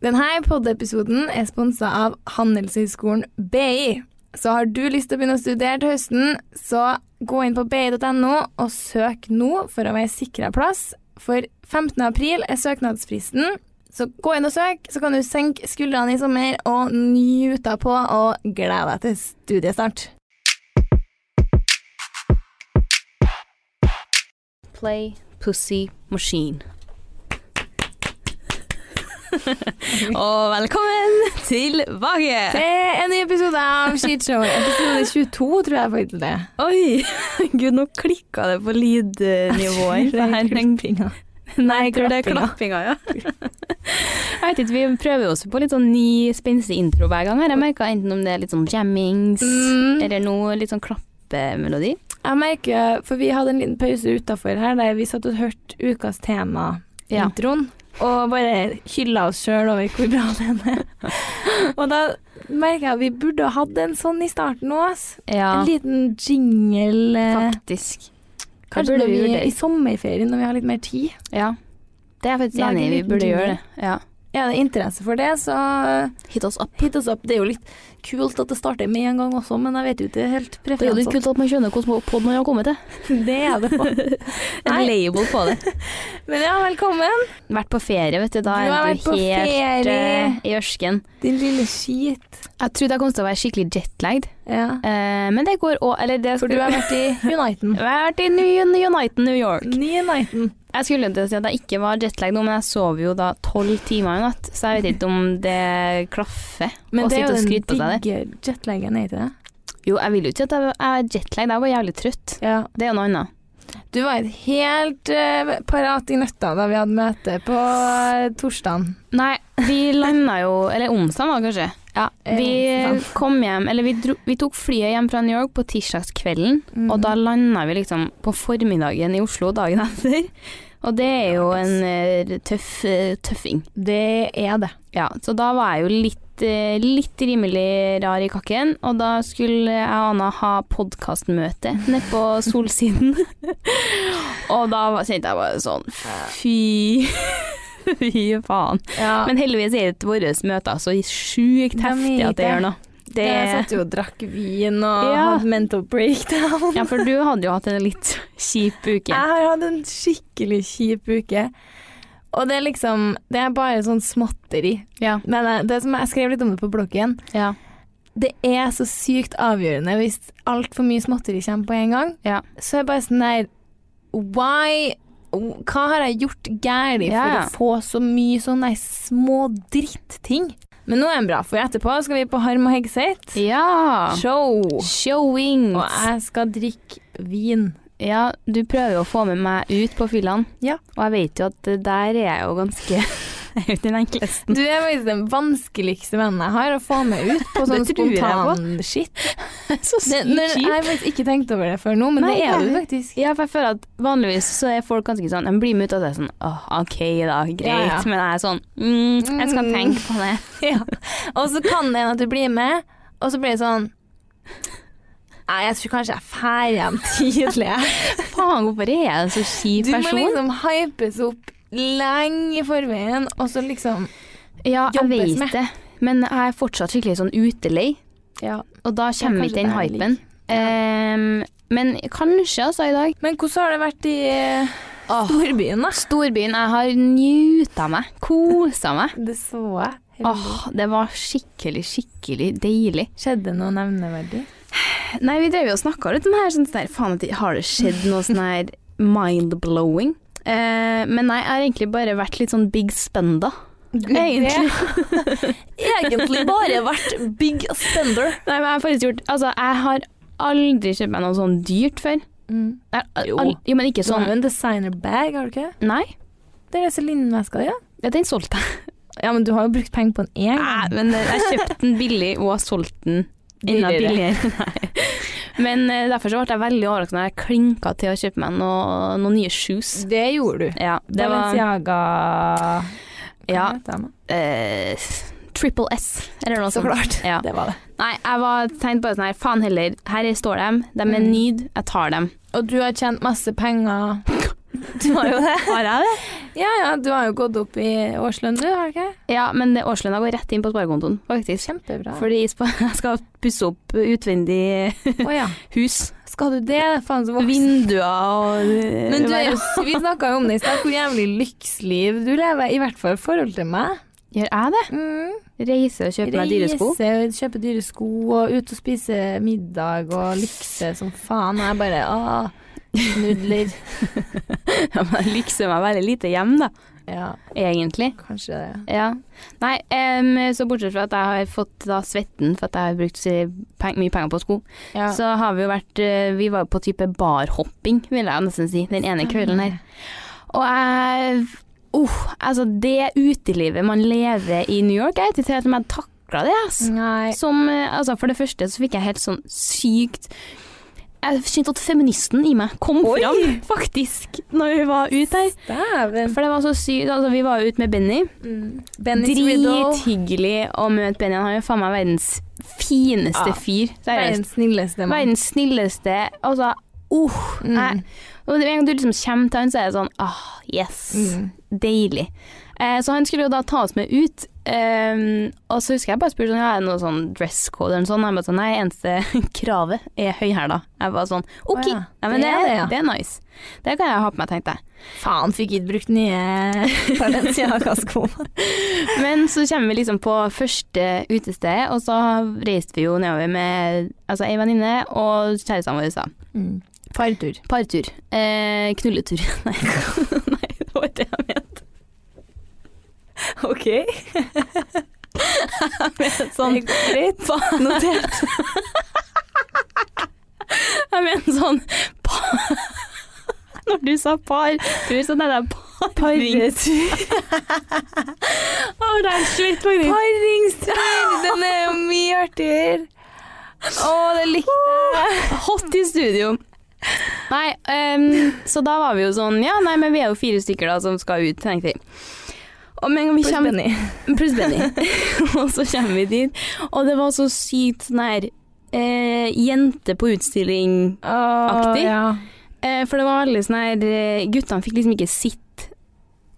Denne poddepisoden er sponsa av Handelshøyskolen BI. Så har du lyst til å begynne å studere til høsten, så gå inn på bi.no og søk nå for å være sikra plass. For 15. april er søknadsfristen, så gå inn og søk, så kan du senke skuldrene i sommer og nyte på og glede deg til studiestart. Play Pussy Machine. Og velkommen tilbake! Det er en ny episode av Skitshow. Episode 22, tror jeg faktisk det. er. Oi! Gud, nå klikka det på lydnivået. Det her Klappinga. Nei, Jeg tror det er klappinga. klappinga, ja. jeg vet ikke, vi prøver jo også på litt sånn ny, spenstig intro hver gang. her. Jeg merker enten om det er litt sånn jammings, Mm. eller noe litt sånn klappemelodi. Jeg merker, for vi hadde en liten pause utafor her der vi satt og hørte ukas Ja. tema-introen. Og bare hylla oss sjøl over hvor bra den er. og da merker jeg at vi burde ha hatt en sånn i starten òg, ass. Ja, En liten jingle. eh, faktisk. Kanskje burde når vi vi gjøre det? i sommerferien når vi har litt mer tid. Ja. Det er jeg faktisk Lage enig i, vi en liten burde jingle. gjøre det. Ja. Er det interesse for det, så Hit oss opp. hit oss opp. Det er jo litt kult at det starter med en gang også, men jeg vet jo ikke helt Det er jo litt preferanser. kult at man skjønner hvordan podden man har kommet til. Det er det på. En Nei. label på det. Men ja, velkommen. Vært på ferie, vet du. Du Da har er du vært på helt ferie. eh, i ørsken. Din lille skit. Jeg trodde jeg kom til å være skikkelig jetlagd, Ja. eh, men det går òg Eller det For du har vært i Uniten. Jeg har vært i New United New York. Ny Uniten. Jeg skulle til å si at jeg ikke var jetlagd nå, men jeg sov jo da tolv timer i natt, så jeg vet ikke om det klaffer å Men det er sitte og jo skryte på den seg det. digge jetlagen, er ikke det? Jo, jeg vil jo ikke at jeg jeg er jetlagd, jeg var jævlig trøtt. Ja. Det er jo noe annet. Du var et helt eh, parat i nøtta da vi hadde møte på uh, torsdagen. Nei, vi landa jo Eller onsdag var det kanskje. Ja, Eh, vi onsdag. kom hjem Eller vi, dro, vi tok flyet hjem fra New York på tirsdagskvelden, Mhm. og da landa vi liksom på formiddagen i Oslo dagen etter. Og det er jo en eh, tøff eh, tøffing. Det er det. Ja, så da var jeg jo litt, eh, litt rimelig rar i kakken, og da skulle jeg og Anna ha podkastmøte nede på Solsiden. og da var- kjente jeg bare sånn fy Fy faen. Ja. Men heldigvis er ikke våre møter så sjukt De er heftige at det ikke. gjør noe. Jeg Det, satt jo og drakk vin og Ja. hadde mental breakdown. ja, for du hadde jo hatt en litt kjip uke. Jeg har hatt en skikkelig kjip uke. Og det er liksom Det er bare sånn småtteri. Ja. Men eh, det som jeg skrev litt om det på bloggen, ja. det er så sykt avgjørende hvis altfor mye småtteri kommer på en gang. Ja. Så er jeg bare sånn der Why? Hva har jeg gjort galt Ja, ja. for å få så mye sånne små dritting? Men nå er den bra, for etterpå skal vi på Harm og Hegseth. ja. Show! Showings. Og jeg skal drikke vin. Ja, du prøver jo å få med meg ut på fyllene. Ja. Og jeg vet jo at der er jeg jo ganske er jo den enkleste. Du er faktisk den vanskeligste vennen jeg har å få med ut på sånn Det tror jeg på. spontan shit. Så Det, sykt når, jeg kjipt. har faktisk ikke tenkt over det før nå, men Nei, det er du jeg- faktisk. Ja, for jeg føler at vanligvis så er folk ganske sånn De blir med ut av det sånn Åh, OK, da. Greit. Ja, ja. Men jeg er sånn mm, Jeg skal Mm. tenke på det. Ja. Og så kan det hende at du blir med, og så blir det sånn Nei, jeg tror kanskje jeg drar hjem tidlig. Faen, hvorfor er jeg en så kjip Du må person? liksom hypes opp lenge i forveien, og så liksom ja, jeg jobbes vet med. det. Men jeg er fortsatt skikkelig sånn utelei, Ja. og da kommer kanskje ikke den det er lik. hypen. Ehm, men kanskje, altså, i dag. Men hvordan har det vært i eh, storbyen, da? Storbyen. Jeg har njuta meg. Kosa meg. Det så jeg. Åh, det var skikkelig, skikkelig deilig. Skjedde noe nevneverdig? Nei, vi drev jo og snakka litt om det her. Sånn der, faen, at det- har det skjedd noe sånn her mind-blowing? Eh, men nei, jeg har egentlig bare vært litt sånn big spenda. Egentlig. Egentlig bare vært big spender. Nei, men jeg har faktisk gjort Altså, jeg har aldri kjøpt meg noe sånn dyrt før. Mm. Jeg, har al- al- jo, men ikke Du har jo sånn en designerbag, har du ikke? Nei, Det er Celine-veska di, ja. ja, den solgte jeg. Ja, men du har jo brukt penger på den én Nei, gang. men eh, jeg kjøpte den billig og har solgt den enda Dyrere. billigere. Nei. Men eh, derfor så ble jeg veldig overrasket når jeg klinka til å kjøpe meg noe- noen nye shoes. Det gjorde du. Ja, det var Balenciaga Hva Ja. heter det, da? eh, Triple S, eller noe Så sånt. klart. Ja. Det var det. Nei, jeg var tegnet på sånn her, faen heller, her står de, de er Mm. nyd, jeg tar dem. Og du har tjent masse penger. Du har jo det. Har jeg det? Ja, ja, du har jo gått opp i årslønn, du, har du ikke? Ja, men det årslønna går rett inn på sparekontoen, faktisk. Kjempebra. Fordi spa- jeg skal pusse opp utvendig Å ja. hus, Skal du det? Faen så voksen. vinduer og eh, Men du er jo, vi snakka jo om det i stad, hvor jævlig lyksliv du lever. I hvert fall i forhold til meg. Gjør jeg det? Mm. Reiser og kjøper meg dyre sko? Reise og kjøpe dyre sko og ut og spise middag og lykse som faen. Og jeg bare ah, nudler. Ja, men liksom, jeg lykser meg veldig lite hjem, da, Ja, egentlig. kanskje det. Ja. Nei, em, så bortsett fra at jeg har fått da svetten for at jeg har brukt eh, peng- mye penger på sko, Ja. så har vi jo vært eh, Vi var jo på type barhopping, vil jeg jo nesten si, den ene kvelden her. Og jeg uh, Altså, det utelivet man lever i New York, jeg vet ikke helt om jeg takla det, ass. Nei. Som, eh, altså For det første så fikk jeg helt sånn sykt Jeg kjente at feministen i meg kom Oi! fram, faktisk, når vi var ute her. Dæven. For det var så sykt. Altså, vi var jo ute med Benny. Mm. Benny's Riddle. Drithyggelig å møte Benny. Han er jo faen meg verdens fineste Ja. fyr. Seriøst. Ah. Verdens snilleste mann. Verdens snilleste. Altså, uh, Mm. jeg, og det- en gang du liksom kommer til han, så er det sånn ah, yes. Mm. Deilig. Eh, så han skulle jo da ta oss med ut. ehm, og så husker jeg bare spurte sånn, ja, er det noe sånn dress code eller noe sånt. Og jeg bare sånn, nei, eneste kravet er høyhæla. Jeg var sånn, ok, Å ja. nei, men Det det, er det, ja. det er nice. Det kan jeg ha på meg, tenkte jeg. Faen, fikk ikke brukt nye Balenciaga-sko. Men så kommer vi liksom på første utested, og så reiste vi jo nedover med altså, ei venninne og kjærestene våre. da. Mm. Fartur. Partur. Eh, knulletur. Nei. Nei, det var ikke det jeg mente. OK. sånn Greit. Notert. jeg mener sånn par... Når du sa partur, så tenkte jeg par... Parretur. Å, det er svett, faktisk. Paringstur! Den er jo mye artigere. Å, det likte jeg. Hot i studio. Nei, ehm, så da var vi jo sånn Ja, nei, men vi er jo fire stykker da som skal ut, tenkte vi. Og med en gang vi Pluss kommer- Benny. Pluss Benny. og så kommer vi dit, og det var så sykt sånn her eh, jente på utstilling. Aktig. Ja. Eh, for det var veldig sånn her eh, Guttene fikk liksom ikke sitte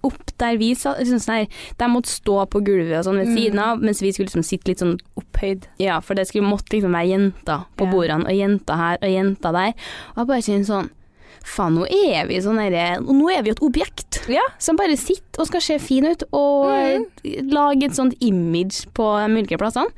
opp der vi satt. Liksom sånn her, de måtte stå på gulvet og sånn ved Mm. siden av, mens vi skulle liksom sitte litt sånn Opphøyd. ja, for det skulle måtte liksom være jenter på Ja. bordene, og jenter her og jenter der. Og jeg bare kjenner sånn Faen, nå er vi sånn herre Nå er vi et objekt Ja. Mm. som bare sitter og skal se fin ut, og eh, lage et sånt image på de ulike plassene.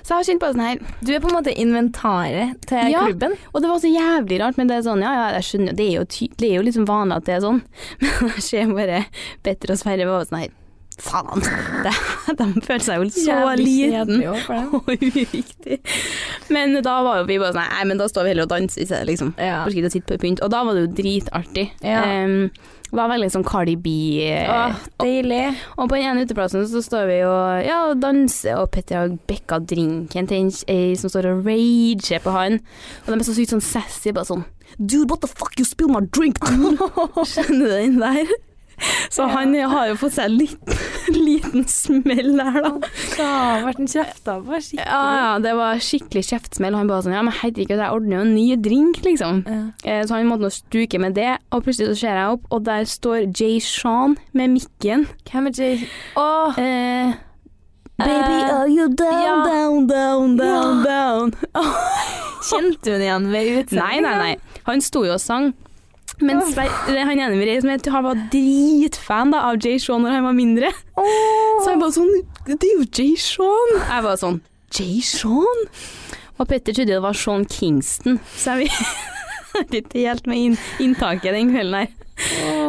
Så jeg har kjent på det sånn her Du er på en måte inventaret til Ja. klubben. Og det var så jævlig rart, men det er sånn Ja, ja, jeg skjønner jo, det er jo, ty det er jo liksom vanlig at det er sånn, men jeg ser bare Petter og Sverre var sånn her Faen! De, de følte seg jo så Jævlig liten kjedelig også for dem. og uviktig. Men da var jo vi bare sånn Nei, men da står vi heller og danser i stedet, liksom. Ja. Orker ikke å sitte på pynt. Og da var det jo dritartig. Ja. Ah. Em, var veldig sånn Cardi B eh, Åh, deilig. Og på den ene uteplassen så står vi og ja, og danser, og Petter har bekka drinken til en ei som står og rager på han. Og de er så sykt sånn sassy, bare sånn Dude, what the fuck, you spill my drink, dude! Skjønner du den der? Så han har jo fått seg en liten, liten smell der, da. Da ble den kjefta på skikkelig. Ja, ja, det var skikkelig kjeftsmell. Han bare sånn Ja, men herregud, jeg ordner jo en ny drink, liksom. Eh, Så han måtte nå stuke med det, og plutselig så ser jeg opp, og der står Jay Sean med mikken. Hvem er Jay? Åh, Eh, Eh, Baby, are you down, down, down, down, down? kjente hun igjen ved utseendet? Nei, nei, nei. Han sto jo og sang. Men Sver- det er han ene vi reiser med, han var dritfan da, av Jay Sean når han var mindre. Så han bare sånn Det er jo Jay Sean! Jeg var sånn Jay Sean? Og Petter trodde det var Sean Kingston, så jeg vet ikke helt med inn, inntaket den kvelden her.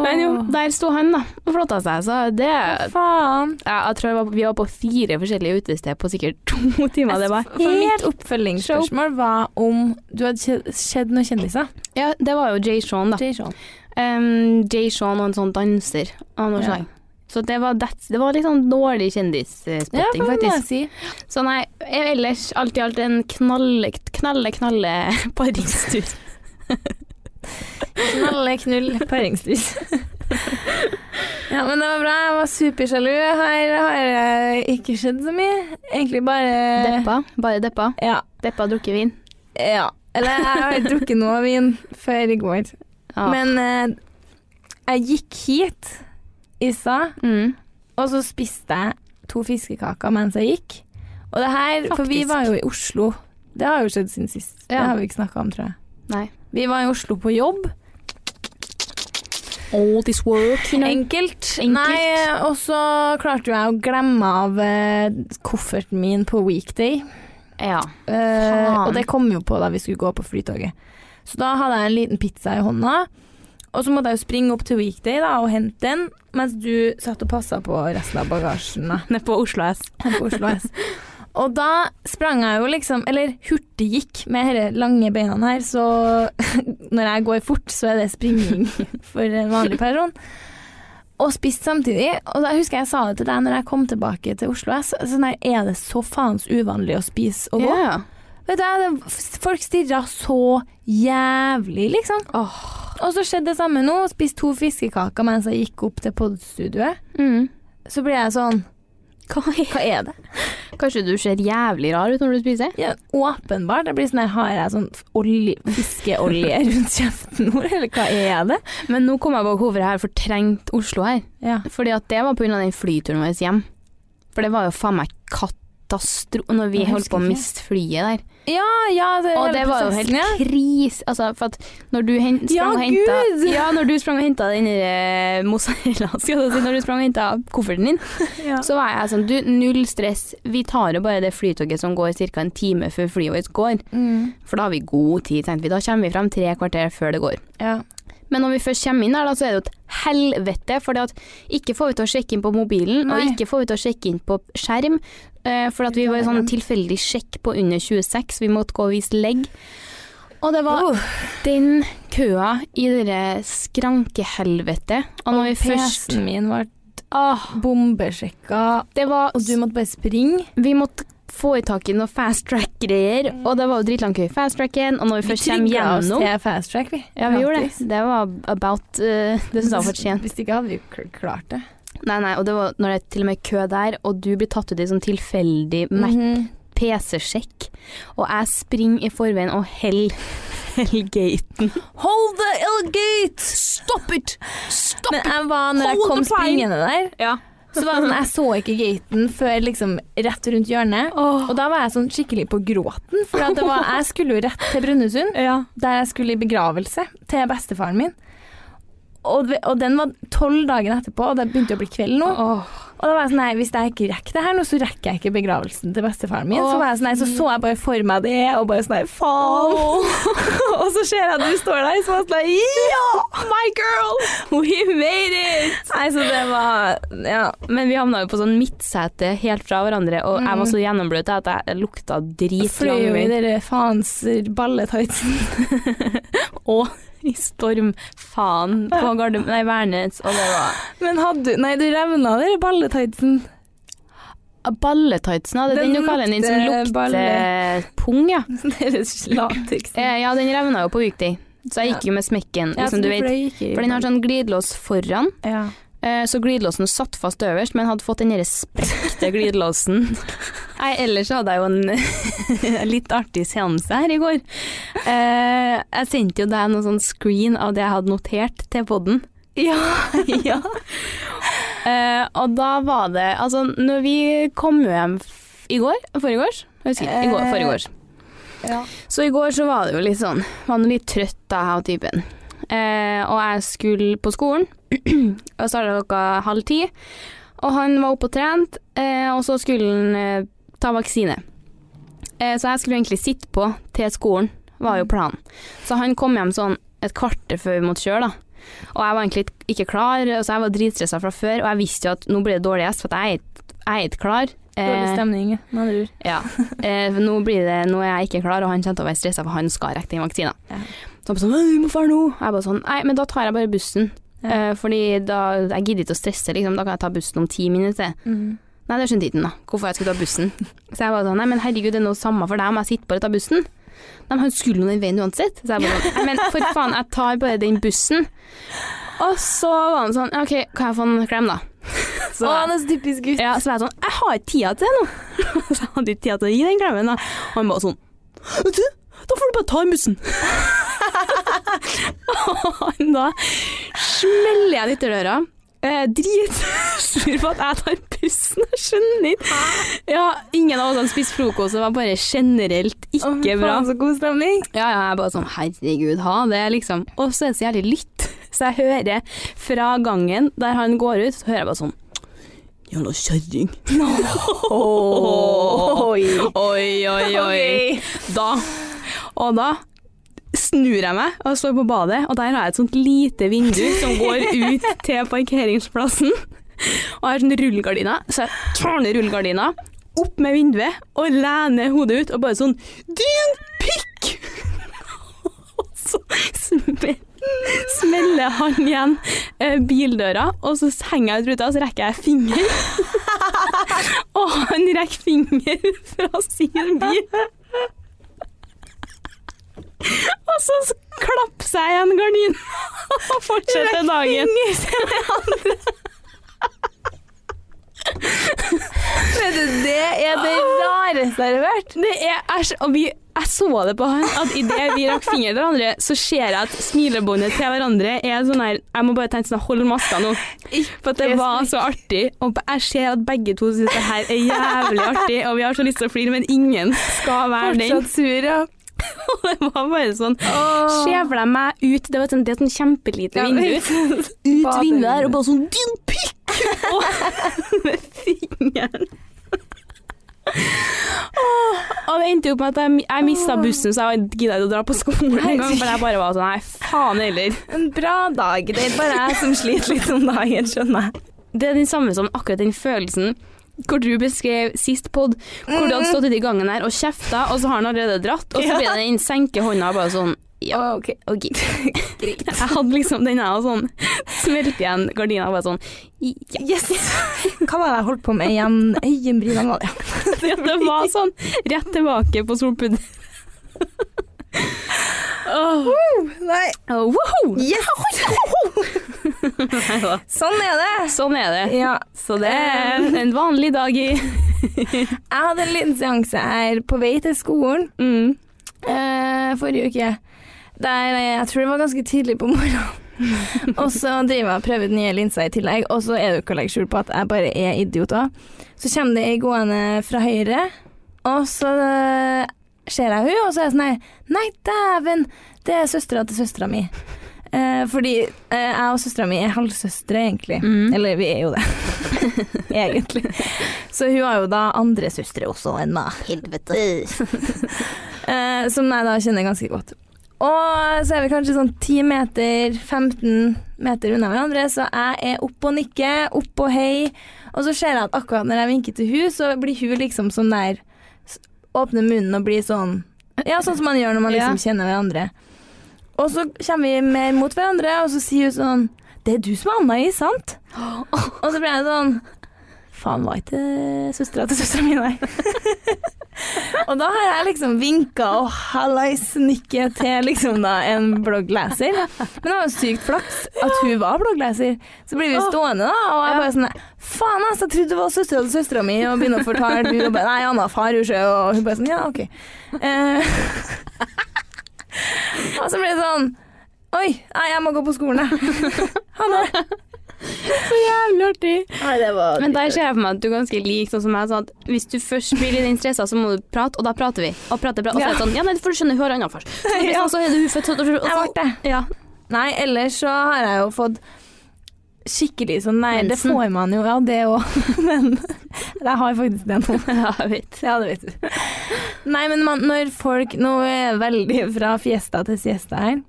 Men jo, der sto han da og flotta seg, så det Faen. jeg, jeg tror jeg var, vi var på fire forskjellige utesteder på sikkert to timer. Det var, For mitt oppfølgingsspørsmål var om du hadde kje- sett noen kjendiser. ja, det var jo Jay Sean, da. Jay Sean. Um, Jay Sean og en sånn danser av noe Ja. slag. Så det var, that's, det var litt sånn dårlig Ja, kjendisspotting, hva må jeg faktisk. si? Så nei, e, ellers alt i alt en knalle, knalle, knalle paringstur. Knalle, knull, paringsvis. ja, men det var bra. Jeg var supersjalu. Her har jeg ikke skjedd så mye. Egentlig bare Deppa, bare deppa. Ja. Deppa drukker vin. ja. Eller jeg har ikke drukket noe vin før i går. Ja. Men eh, jeg gikk hit i stad, mm. og så spiste jeg to fiskekaker mens jeg gikk. Og det her, for vi Faktisk. var jo i Oslo. Det har jo skjedd siden sist. Det Ja. har vi ikke snakka om, tror jeg. Nei. Vi var i Oslo på jobb. All this work, you Enkelt. Enkelt. Nei, eh, og så klarte jo jeg å glemme av eh, kofferten min på weekday. Ja. Eh, Faen. og det kom jo på da vi skulle gå på flytoget. Så da hadde jeg en liten pizza i hånda. Og så måtte jeg jo springe opp til Weekday da, og hente den, mens du satt og passa på resten av bagasjen da, Nede på Oslo S. her på Oslo S. Og da sprang jeg jo liksom, eller hurtiggikk med disse lange beina her, så når jeg går fort, så er det springing for en vanlig person. Og spist samtidig. Og da husker jeg jeg sa det til deg når jeg kom tilbake til Oslo S. Sånn her, er det så faens uvanlig å spise og gå? Ja. Vet du, det- f- Folk stirra så jævlig, liksom. Og så skjedde det samme nå. Spiste to fiskekaker mens jeg gikk opp til podstudioet. Mm. Så ble jeg sånn Hva er, det? Kanskje du ser jævlig rar ut når du spiser? Ja, åpenbart. Jeg blir sånn her, Har jeg sånn olje, fiskeolje rundt kjeften nå, eller hva er det? Men nå kom jeg på hvorfor jeg har fortrengt Oslo her. Ja. Fordi at det var på grunn av den flyturen vår hjem. For det var jo faen meg katastro... Når vi Jeg holdt på å husker ikke. miste flyet der. ja, ja, det, sånn Og hele det var jo helt prosessen, ja. kris. Altså, for at når du hen, sprang Ja, og henta Gud! Ja, når du sprang og henta den der, eh, mozzarella, skal du si, når du sprang og henta kofferten din, Ja. så var jeg sånn Du, null stress. Vi tar jo bare det flytoget som går ca. en time før flyet vårt går. Mm, For da har vi god tid, tenkte vi. Da kommer vi fram tre kvarter før det går. ja. Men når vi først kommer inn her, da, så er det jo et helvete. For at ikke får vi til å sjekke inn på mobilen, Nei. og ikke får vi til å sjekke inn på skjerm. eh, for at vi var i sånn tilfeldig sjekk på under 26, vi måtte gå og vise legg. Og det var den køa i det der skrankehelvete. Og når vi først PC-en min ble Åh, bombesjekka, det var og du måtte bare springe. Vi måtte få i tak i noe fast track-greier, og det var jo dritlang kø i fast tracken. Og når vi først kommer trigget oss gjennom til fast track, vi. Ja, vi gjorde det. Gratis. Det var about eh, Det syns jeg var for sent. Hvis ikke hadde vi jo kl- klart det. Nei, nei, og det var når det er til og med kø der, og du blir tatt ut i sånn tilfeldig Mhm. Mac- PC-sjekk, og jeg springer i forveien og hell Hellgaten. Hold the L-gate! Stop it! Stop Men jeg var, når jeg Hold kom the plane! springende der, Ja. så var det sånn, jeg så ikke gaten før liksom rett rundt hjørnet. Og da var jeg sånn skikkelig på gråten, for at det var, jeg skulle jo rett til Brønnøysund, der jeg skulle i begravelse til bestefaren min. Og, det- og den var tolv dagen etterpå, og det begynte å bli kveld nå. Og da var jeg sånn, nei, hvis jeg ikke rekker det her nå, så rekker jeg ikke begravelsen til bestefaren min. Så, var jeg sånn, nei, så så jeg bare for meg det, og bare sånn, nei, faen. og så ser jeg at du står der, så var jeg sånn, nei, ja! My girl! We made it! I Nei, så det var Ja. Men vi havna jo på sånn midtsete helt fra hverandre, og jeg var så gjennombløt at jeg lukta drit. Fløy jo i den faens balletightsen. og i storm, faen, på Gardermoen Nei, Værnes, og det var Men hadde du Nei, du revna den balletightsen. Balletightsen, ja, det er den, Den du kaller den som lukter lukter balle. pung, ja. Deres lateksen. Eh, Ja, den revna jo på weekday, så jeg gikk jo med smekken, Ja, liksom, du vet. For den har sånn sånn glidelås foran, ja. eh, så glidelåsen satt fast øverst, men hadde fått den derre sprekte glidelåsen. Nei, ellers hadde jeg jo en litt artig seanse her i går. Eh, Jeg sendte jo deg noe sånn screen av det jeg hadde notert til podden. ja. ja. Eh, og da var det Altså, når vi kom hjem f- i går, foregårs? Jeg husker ikke. I går, Eh, foregårs. ja. Så i går så var det jo litt sånn Var nå litt trøtt da, jeg og typen. Eh, og jeg skulle på skolen, og starta klokka halv ti. Og han var oppe og trent, eh, og så skulle han eh, ta vaksine. Eh, så jeg skulle egentlig sitte på til skolen, var jo Mm. planen. Så han kom hjem sånn et kvarter før vi måtte kjøre, da. Og jeg var egentlig ikke klar, så jeg var dritstressa fra før. Og jeg visste jo at nå blir det dårlig gjest, for at jeg er ikke- jeg er ikke klar. Eh, Dårlig stemning, med andre ord. Ja. Eh, for nå, blir det, nå er jeg ikke klar, og han kommer til å være stressa, for han skal rekke den vaksina. Ja. Så han bare sånn «Nei, 'Vi må dra nå.' Jeg bare sånn Nei, men da tar jeg bare bussen. Ja. Eh, fordi da Jeg gidder ikke å stresse, liksom. Da kan jeg ta bussen om ti minutter. Mm. Nei, det skjønte ikke han, da. Hvorfor jeg skulle ta bussen. Så jeg bare sånn Nei, men herregud, det er noe samme for deg om jeg sitter bare og tar bussen. Nei, men han skulle nå den veien uansett. Så jeg bare sånn Nei, men for faen, jeg tar bare den bussen. Og så var han sånn OK, kan jeg få en klem, da? Så- Å, han er så typisk gutt. ja, så var jeg sånn Jeg har ikke tida til det nå. Så jeg hadde ikke tida til å gi den klemmen. da. Og han bare sånn Vet du, da får du bare ta i mussen. Og han da smeller jeg litt i døra. Eh, Dritsur på at jeg tar pusten, jeg skjønner ikke. Ja, ingen av oss hadde spist frokost, det var bare generelt Å, fy ikke faen, bra. Så god stemning. Ja, ja, jeg bare sånn herregud, ha det, liksom. Og så er det så jævlig lytt. Så jeg hører fra gangen der han går ut, så hører jeg bare sånn Jævla kjerring. Oi. Oi, oi, oi. Ok. Da. Og da snur jeg meg og står på badet, og der har jeg et sånt lite vindu som går ut til parkeringsplassen. Og jeg har sånn rullegardina, så jeg tar ned rullegardina, opp med vinduet og lener hodet ut og bare sånn Din pikk! Og så smell- smeller han igjen eh, bildøra, og så henger jeg ut ruta, og så rekker jeg finger. Og han rekker finger fra sin bil. Og så s- klapper seg igjen gardinen og fortsetter dagen. Vet du, det er det rareste jeg har hørt. Det er æsj. Og vi, jeg så det på han at idet vi rakk fingeren til hverandre, så ser jeg at smilebåndet til hverandre er sånn her Jeg må bare tenke sånn Hold maska nå. For at det var så artig. Og b- jeg ser at begge to syns det her er jævlig artig, og vi har så lyst til å flire, men ingen skal være den. Fortsatt sur, ja. Og det var bare sånn Åh. Skjevla meg ut. Det var sånn, det er sånn kjempelite Ja, vindu. Ut Bade vinduet der, vinduet. og bare sånn Din pikk! Og med fingeren. Åh, og det endte jo opp med at jeg, jeg mista bussen, så jeg gidda ikke å dra på skolen engang. For jeg bare var sånn Nei, faen heller. En bra dag. Det er bare jeg som sliter litt om dagen, skjønner jeg. Det er den samme som akkurat den følelsen hvor du beskrev sist pod, hvor du hadde stått ute i gangen her og kjefta, og så har han allerede dratt, og så Mm. Ja. blir det den senke hånda bare sånn Ja, ok. OK. Jeg hadde liksom den her og sånn smelte igjen gardina og bare sånn ja. Yes. Hva var det jeg holdt på med igjen? Øyenbrynene var det. Det var sånn rett tilbake på solpudder. Åh, Nei. åh, woho! Yes. Nei da. Sånn er det. Sånn er det. Ja. Så det er en vanlig dag i Jeg hadde en liten seanse her på vei til skolen mm. eh, forrige uke. Der eh, jeg tror det var ganske tidlig på morgenen. og så driver jeg og prøver ut nye linser i tillegg, og så er det jo ikke å legge skjul på at jeg bare er idiot også. Så kommer det ei gående fra høyre, og så eh, ser jeg hun, og så er jeg sånn her Nei, dæven! Det er søstera til søstera mi. Eh, fordi eh, jeg og søstera mi er halvsøstre, egentlig. Mm. Eller vi er jo det. egentlig. Så hun har jo da andre søstre også enn meg. Helvete. eh, som jeg da kjenner ganske godt. Og så er vi kanskje sånn 10 meter, 15 meter unna hverandre, så jeg er opp og nikker, opp og hei. Og så ser jeg at akkurat når jeg vinker til hun, så blir hun liksom sånn der s- Åpner munnen og blir sånn Ja, sånn som man gjør når man liksom kjenner hverandre. Og så kommer vi mer mot hverandre, og så sier hun sånn Det er du som er Anna i, sant? Og så blir jeg sånn Faen, var ikke det søstera til søstera mi, nei. Og da har jeg liksom vinka og hallais-nikket til liksom da en bloggleser. Men det var jo sykt flaks at hun var bloggleser. Så blir vi stående, da, og jeg bare sånn Faen, altså, jeg trodde det var søstera til søstera mi, og begynner å fortelle hun bare Nei, Anna far hun sjø, og hun bare sånn Ja, OK. Eh, og så blir det sånn Oi, nei, jeg må gå på skolen, jeg. Ha det. Så jævlig artig. Nei, det var Men der ser jeg for meg at du er ganske lik sånn som meg. Sånn at hvis du først blir litt stressa, så må du prate, og da prater vi. Og prater, prater, og så er det sånn Ja, nei, for du skjønner, hun har annen far. Så det blir Ja. sånn, så er det ufødt, og så- og Jeg så- ble det. Ja. Nei, ellers så har jeg jo fått skikkelig sånn Nei, det Mensen. får man jo, ja, det òg. Men jeg har faktisk det nå. ja, jeg vet. Ja, det vet du. Nei, men man, når folk Nå er jeg veldig fra fiesta til siesta her,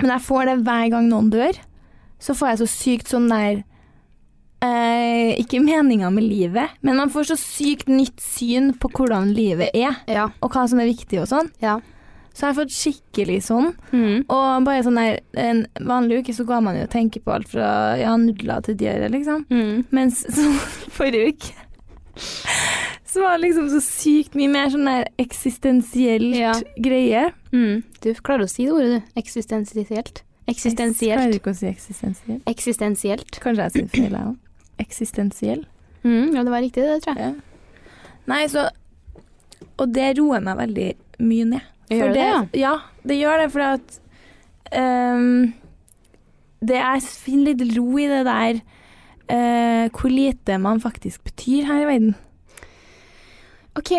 men jeg får det hver gang noen dør. Så får jeg så sykt sånn der eh, Ikke meninga med livet, men man får så sykt nytt syn på hvordan livet er, Ja. og hva som er viktig og sånn. Ja. Så jeg har fått skikkelig sånn. Mm. Og bare sånn der, en vanlig uke så går man jo og tenker på alt fra ja, nudler til diaré, liksom. Mm. Mens så, forrige uke så var det liksom så sykt mye mer sånn der eksistensielt Ja. greie. Mm. Du klarer å si det ordet, du. Eksistensielt. Jeg klarer Eksistensielt. ikke å si eksistensielt. Eksistensielt. Kanskje jeg sier feil, jeg òg. Eksistensiell. Mm, ja, det var riktig, det, tror jeg. Ja. Nei, så Og det roer meg veldig mye ned. Gjør For det det, ja? det gjør det, fordi at ehm, Det er finner litt ro i det der eh, hvor lite man faktisk betyr her i verden. OK.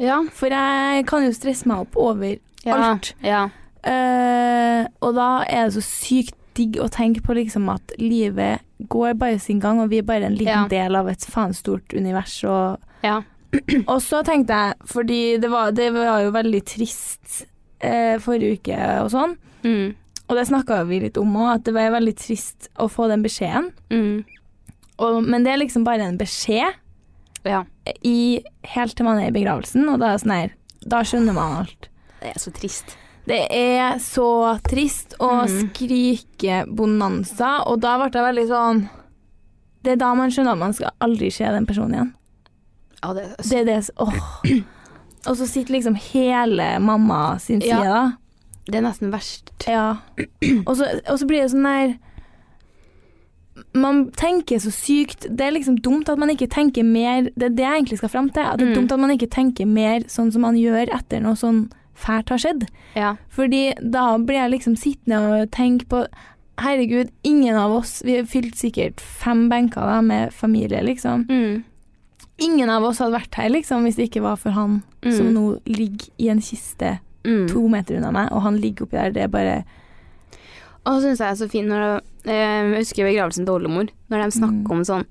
Ja. For jeg kan jo stresse meg opp over alt. Ja. Eh, og da er det så sykt digg å tenke på liksom at livet går bare sin gang, og vi er bare en liten Ja. del av et faen stort univers. og ja. Og så tenkte jeg, fordi det var, det var jo veldig trist eh, forrige uke og sånn, Mm. og det snakka vi litt om òg, at det var veldig trist å få den beskjeden. Mm. Og, men det er liksom bare en beskjed Ja. i, helt til man er i begravelsen, og da, er det sånn her, da skjønner man alt. Det er så trist. Det er så trist å Mhm. skrike bonanza, og da ble jeg veldig sånn Det er da man skjønner at man skal aldri se den personen igjen. Ja, det er Det er det s- åh. Og så sitter liksom hele mamma sin side, Ja. da. Det er nesten verst. Ja. Og så, og så blir det sånn der Man tenker så sykt Det er liksom dumt at man ikke tenker mer Det er det jeg egentlig skal fram til. At det Mm. er dumt at man ikke tenker mer sånn som man gjør etter noe sånn fælt har skjedd. Ja. Fordi da blir jeg liksom sittende og tenke på Herregud, ingen av oss Vi har fylt sikkert fem benker da med familie, liksom. Mm. Ingen av oss hadde vært her liksom, hvis det ikke var for han Mm. som nå ligger i en kiste Mm. to meter unna meg, og han ligger oppi der. Det er bare Og så syns jeg det er så fint når det, eh, Jeg husker begravelsen til oldemor, når Mm. de snakker om sånn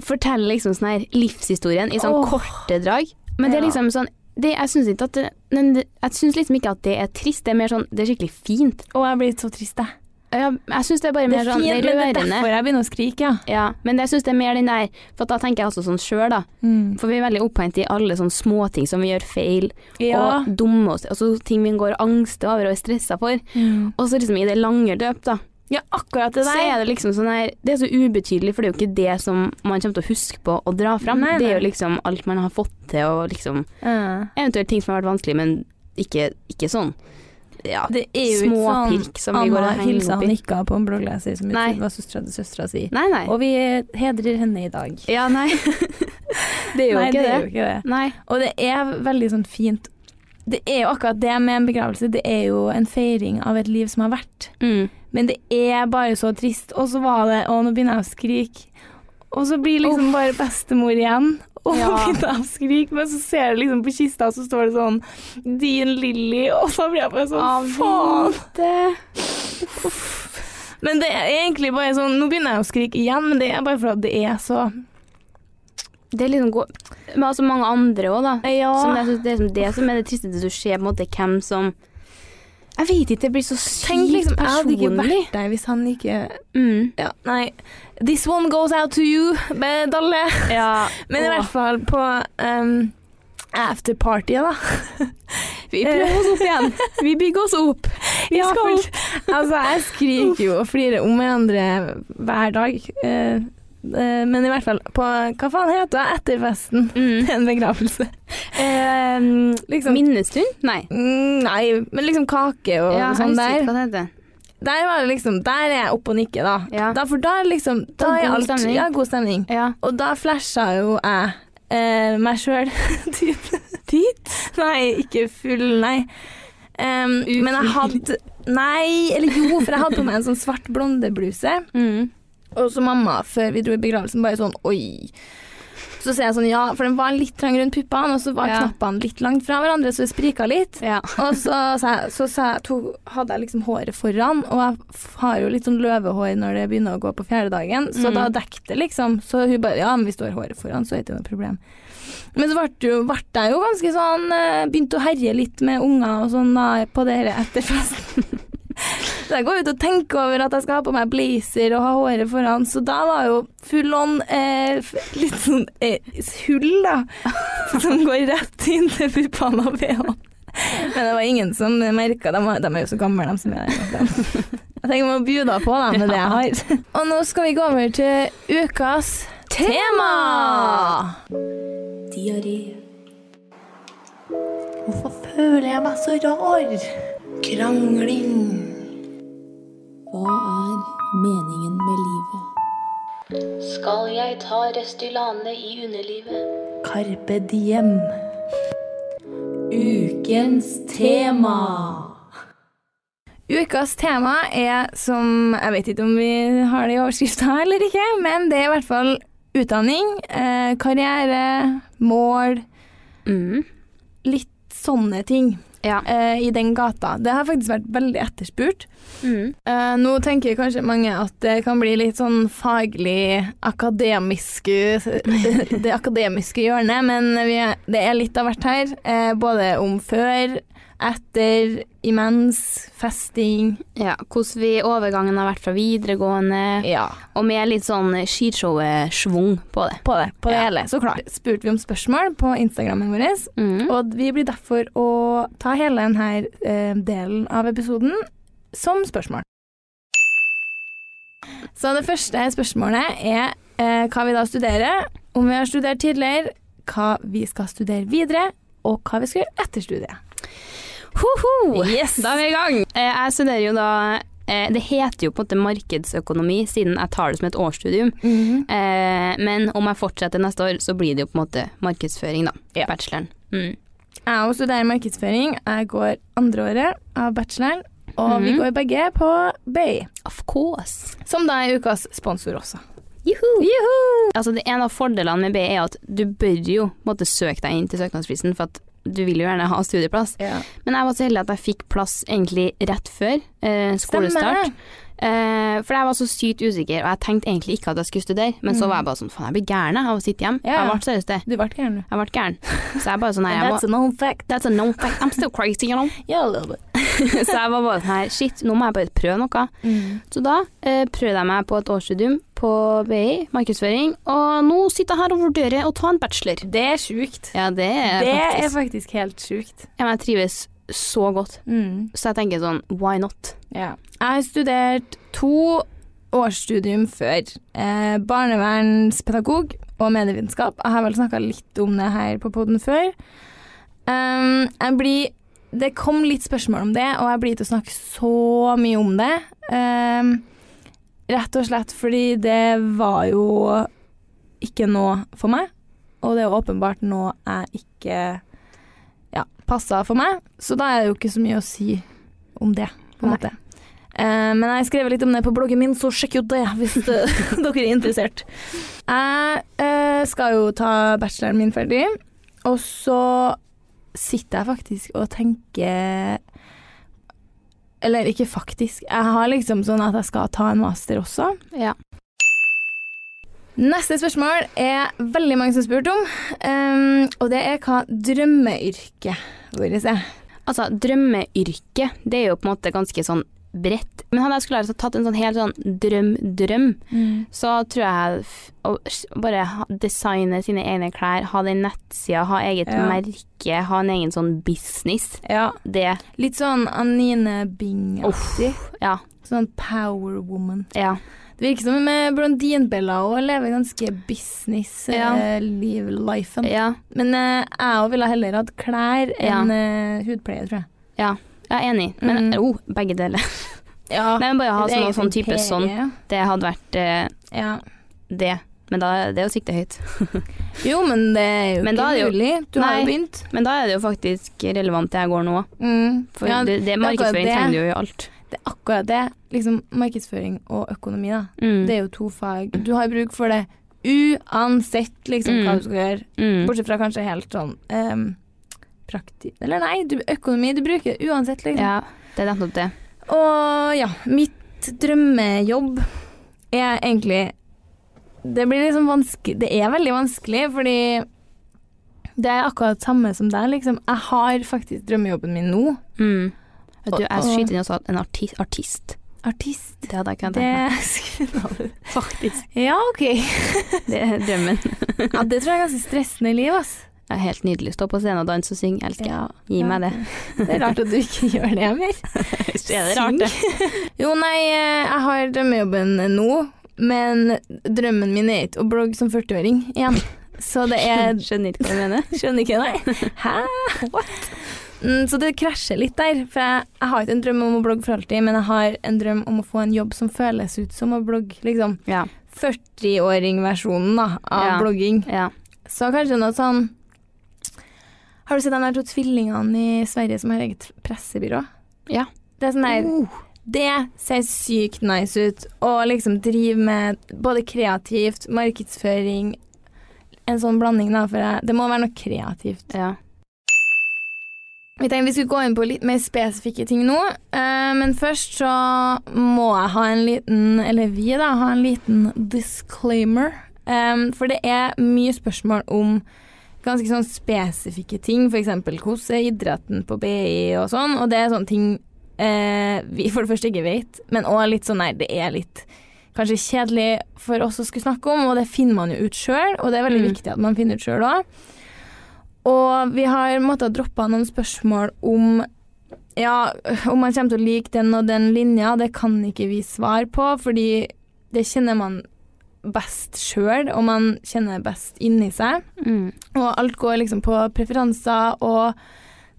Forteller liksom sånn her livshistorien i sånn Åh. korte drag. Men det er Ja. liksom sånn det, Jeg syns ikke at det, men det- Jeg synes liksom ikke at det er trist, det er mer sånn Det er skikkelig fint. Å, jeg blir så trist, jeg. Jeg, jeg syns det er bare Det mer er sånn fint, men Det det er er rørende. derfor jeg begynner å skrike, ja. ja, men jeg syns det er mer den der For da tenker jeg også sånn sjøl, da. For vi er veldig opphengt i alle sånne småting som vi gjør feil, Ja. og dumme oss Altså ting vi går og angster over og er stressa for. Og så liksom i det lange løp, da. Mm. Ja, akkurat det så der. er det liksom sånn her Det er så ubetydelig, for det er jo ikke det som man kommer til å huske på å dra fram. Nei, nei. Det er jo liksom alt man har fått til, og liksom Ja. eventuelt ting som har vært vanskelig, men ikke, ikke sånn. Ja, Det er jo ikke småpirk sånn som vi går og Anna henger hilsa opp og i. nikka på en bloggleser som Nei. jeg trodde var søstera til søstera si. Nei, nei. Og vi hedrer henne i dag. Ja, nei. det er jo Nei, det ikke det. er jo ikke det. Nei. Og det er veldig sånn fint Det er jo akkurat det med en begravelse. Det er jo en feiring av et liv som har vært. Mm. Men det er bare så trist. Og så var det Å, nå begynner jeg å skrike. Og så blir liksom bare bestemor igjen. Og Ja. begynner jeg å skrike, men så ser du liksom på kista, så står det sånn Din Lilly. Og så blir jeg bare sånn Faen. Men det er egentlig bare sånn Nå begynner jeg å skrike igjen, men det er bare fordi det er så Det er liksom gå... Men altså mange andre òg, da. Ja. Som jeg synes det, er som det som er det tristeste du ser, på en måte hvem som Jeg vet ikke, det blir så sykt Tenk liksom, jeg hadde ikke personlig. vært der hvis han ikke Mm. Ja, nei. This one goes out to you, medalje. Ja, Men i åh. hvert fall på um, afterpartyet, da. Vi prøver oss opp igjen. Vi bygger oss opp. Vi Ja, skal for- altså, jeg skriker jo og flirer om hverandre hver dag. Eh, eh, men i hvert fall på Hva faen heter det? Etterfesten Mm. til en begravelse. liksom- Minnestund? Nei. Mm, nei, men liksom kake og Ja, jeg sånn husker ikke der. hva det heter. Der, var det liksom, der er jeg oppe og nikker, da. Ja. da for da er liksom Da Da er er god alt stemning. Ja, god stemning. Ja. Og da flasha jo jeg eh, meg sjøl dit. Nei, ikke full, nei. Em, men jeg hadde Nei, eller jo, for jeg hadde på meg en sånn svart blondebluse. Mm. Og så mamma, før vi dro i begravelsen, bare sånn oi. Så ser jeg sånn, ja, for den var litt trang rundt puppene, og så var Ja. knappene litt langt fra hverandre, så det sprika litt. Ja. Og så, sa jeg, så sa jeg, to, hadde jeg liksom håret foran, og jeg f- har jo litt sånn løvehår når det begynner å gå på fjerde dagen, så Mm. da dekket det liksom. Så hun bare ja, men hvis du har håret foran, så er det ikke noe problem. Men så ble det jo- ble jeg jo ganske sånn eh, Begynte å herje litt med unger og sånn da, på det her etter festen. Så jeg går ut og tenker over at jeg skal ha på meg blazer og ha håret foran, så da var jo full on eh, f- litt sånn eh, hull, da, som går rett inn til puppene og bh-en. Men det var ingen som merka De, var- de er jo så gamle, de som er der. Jeg tenker jeg må by da på da, med det jeg har. Og nå skal vi gå over til ukas tema! Diaré. Hvorfor føler jeg meg så rar? Krangling. Hva er meningen med livet? Skal jeg ta Restylane i underlivet? Carpe diem. Ukens tema. Ukas tema er som Jeg vet ikke om vi har det i overskrifta eller ikke, men det er i hvert fall utdanning, eh, karriere, mål, Mm. litt sånne ting Ja. eh, i den gata. Det har faktisk vært veldig etterspurt. Mm. Eh, nå tenker kanskje mange at det kan bli litt sånn faglig akademiske Det akademiske hjørnet, men vi er, det er litt av hvert her. Eh, både om før, etter, imens, festing ja. Hvordan vi overgangen har vært fra videregående, Ja, og med litt sånn skishowet-schwung på det. på det, på det Ja. hele, så klart. Spurte vi om spørsmål på Instagrammen vår, Mm. og vi blir derfor å ta hele denne eh, delen av episoden som spørsmål. Så det første spørsmålet er eh, hva vi da studerer, om vi har studert tidligere, hva vi skal studere videre, og hva vi skal gjøre etter studiet. Hoho! Yes! Da er vi i gang. Eh, Jeg studerer jo da eh, Det heter jo på en måte markedsøkonomi, siden jeg tar det som et årsstudium. Eh, Men om jeg fortsetter neste år, så blir det jo på en måte markedsføring, da. Ja. Bacheloren. Mm. Jeg også studerer markedsføring. Jeg går andre året av bacheloren, og vi Mhm. går begge på BI, Of course. som da er ukas sponsor også. Juhu! Altså, det, en av fordelene med BI er at du bør jo på en måte søke deg inn til søknadsfristen, for at du vil jo gjerne ha studieplass. Men jeg var så heldig at jeg fikk plass egentlig rett før eh, skolestart. Stemmer. Eh, for jeg var så sykt usikker, og jeg tenkte egentlig ikke at jeg skulle studere, men så Mm. var jeg bare sånn faen, jeg blir gæren jeg, av å sitte hjemme. Ja, ja. Jeg ble seriøst det. Du ble gæren, du. Jeg ble gæren. Så jeg bare sånn her, jeg That's må, a known fact. That's a known fact. I'm still crazy, you know. Yeah, a little bit. Så jeg var bare sånn her, shit, nå må jeg bare prøve noe. Mm. Så da eh, prøvde jeg meg på et årsstudium på BI, markedsføring, og nå sitter jeg her og vurderer å ta en bachelor. Det er sjukt. Ja, det er det faktisk er faktisk helt sjukt. Ja, men Jeg trives så godt, så jeg tenker sånn, why not? Ja. Jeg har studert to årsstudium før. Eh, barnevernspedagog og medievitenskap. Jeg har vel snakka litt om det her på poden før. Um, jeg blir Det kom litt spørsmål om det, og jeg blir til å snakke så mye om det. Um, rett og slett fordi det var jo ikke noe for meg, og det er åpenbart noe jeg ikke ja, passa for meg, så da er det jo ikke så mye å si om det, på en Nei. måte. Eh, men jeg skrev litt om det på bloggen min, så sjekk jo det hvis eh, dere er interessert. Jeg eh, skal jo ta bacheloren min ferdig, og så sitter jeg faktisk og tenker Eller ikke faktisk, jeg har liksom sånn at jeg skal ta en master også. Ja. Neste spørsmål er veldig eh, mange som har spurt om, ehm, og det er hva drømmeyrket vårt er. Altså, drømmeyrke, det er jo på en måte ganske sånn bredt. Men hadde jeg skulle altså tatt en sånn helt sånn drøm-drøm, Mm. så tror jeg f- å s- bare ha- designe sine egne klær, ha den nettsida, ha eget Ja. merke, ha en egen sånn business. Ja. Det Litt sånn Anine Bing-aktig. ja. Sånn power woman. Ja. Det virker som eh, med blondinebella òg lever ganske business-liv-lifen. Ja. Men eh, jeg òg ville heller hatt klær Ja. enn eh, hudpleie, tror jeg. Ja, jeg er enig. Men Mm. jo, begge deler. Ja, Nei, men bare ha et sånn, eget sånn type imperie. sånn. Det hadde vært eh, Ja. det. Men da det er å sikte høyt. Jo, men det er jo Men da ikke er det jo- mulig. Du har Nei. jo begynt. Men da er det jo faktisk relevant det jeg går nå. Mm. For Ja, det, er det akkurat markedsføring det. trenger du jo i alt. Det er akkurat det. Liksom markedsføring og økonomi, da. Mm. Det er jo to fag. Du har bruk for det uansett liksom, hva Mm. du skal gjøre. Mm. Bortsett fra kanskje helt sånn ehm, prakti... Eller nei, du, økonomi du bruker det uansett, liksom. Ja, det er nettopp det. Og ja, mitt drømmejobb er egentlig Det blir liksom vanskelig Det er veldig vanskelig, fordi det er akkurat samme som deg, liksom. Jeg har faktisk drømmejobben min nå. Mm. Vet du, Og- og- jeg skyter inn også at en artist, artist. Artist. Det hadde jeg ikke Det tenkt meg. Faktisk. Ja, OK. Det er drømmen. Ja, det tror jeg er ganske stressende i liv, ass. Det er helt nydelig. Stå på scenen og danse og synge. Jeg elsker det. Ja, Gi meg det. Det er rart at du ikke gjør det mer. Er det rart, det? Jo, nei, eh, jeg har drømmejobben nå, men drømmen min er ikke å blogge som 40-åring igjen. Så det er Skjønner ikke hva du mener. Skjønner ikke det. Hæ? Mm, Så det krasjer litt der. For jeg, jeg har ikke en drøm om å blogge for alltid, men jeg har en drøm om å få en jobb som føles ut som å blogge. Liksom Ja. 40-åring-versjonen da, av Ja. blogging. ja. Så kanskje noe sånn Har du sett de der to tvillingene i Sverige som har eget pressebyrå? Ja. Uh. Det er sånn der Det ser sykt nice ut. Og liksom drive med både kreativt, markedsføring En sånn blanding, da, for jeg, det må være noe kreativt. ja. Vi tenkte vi skulle gå inn på litt mer spesifikke ting nå, eh, men først så må jeg ha en liten, eller vi da, ha en liten disclaimer. Eh, for det er mye spørsmål om ganske sånn spesifikke ting, for eksempel hvordan er idretten på BI og sånn, og det er sånne ting eh, vi for det første ikke vet, men også litt sånn, nei, det er litt kanskje kjedelig for oss å skulle snakke om, og det finner man jo ut selv, og det er veldig Mm. viktig at man finner ut selv også. Og vi har måttet droppe noen spørsmål om ja, om man kommer til å like den og den linja, det kan ikke vi svare på, fordi det kjenner man best sjøl, og man kjenner best inni seg. Mm. Og alt går liksom på preferanser, og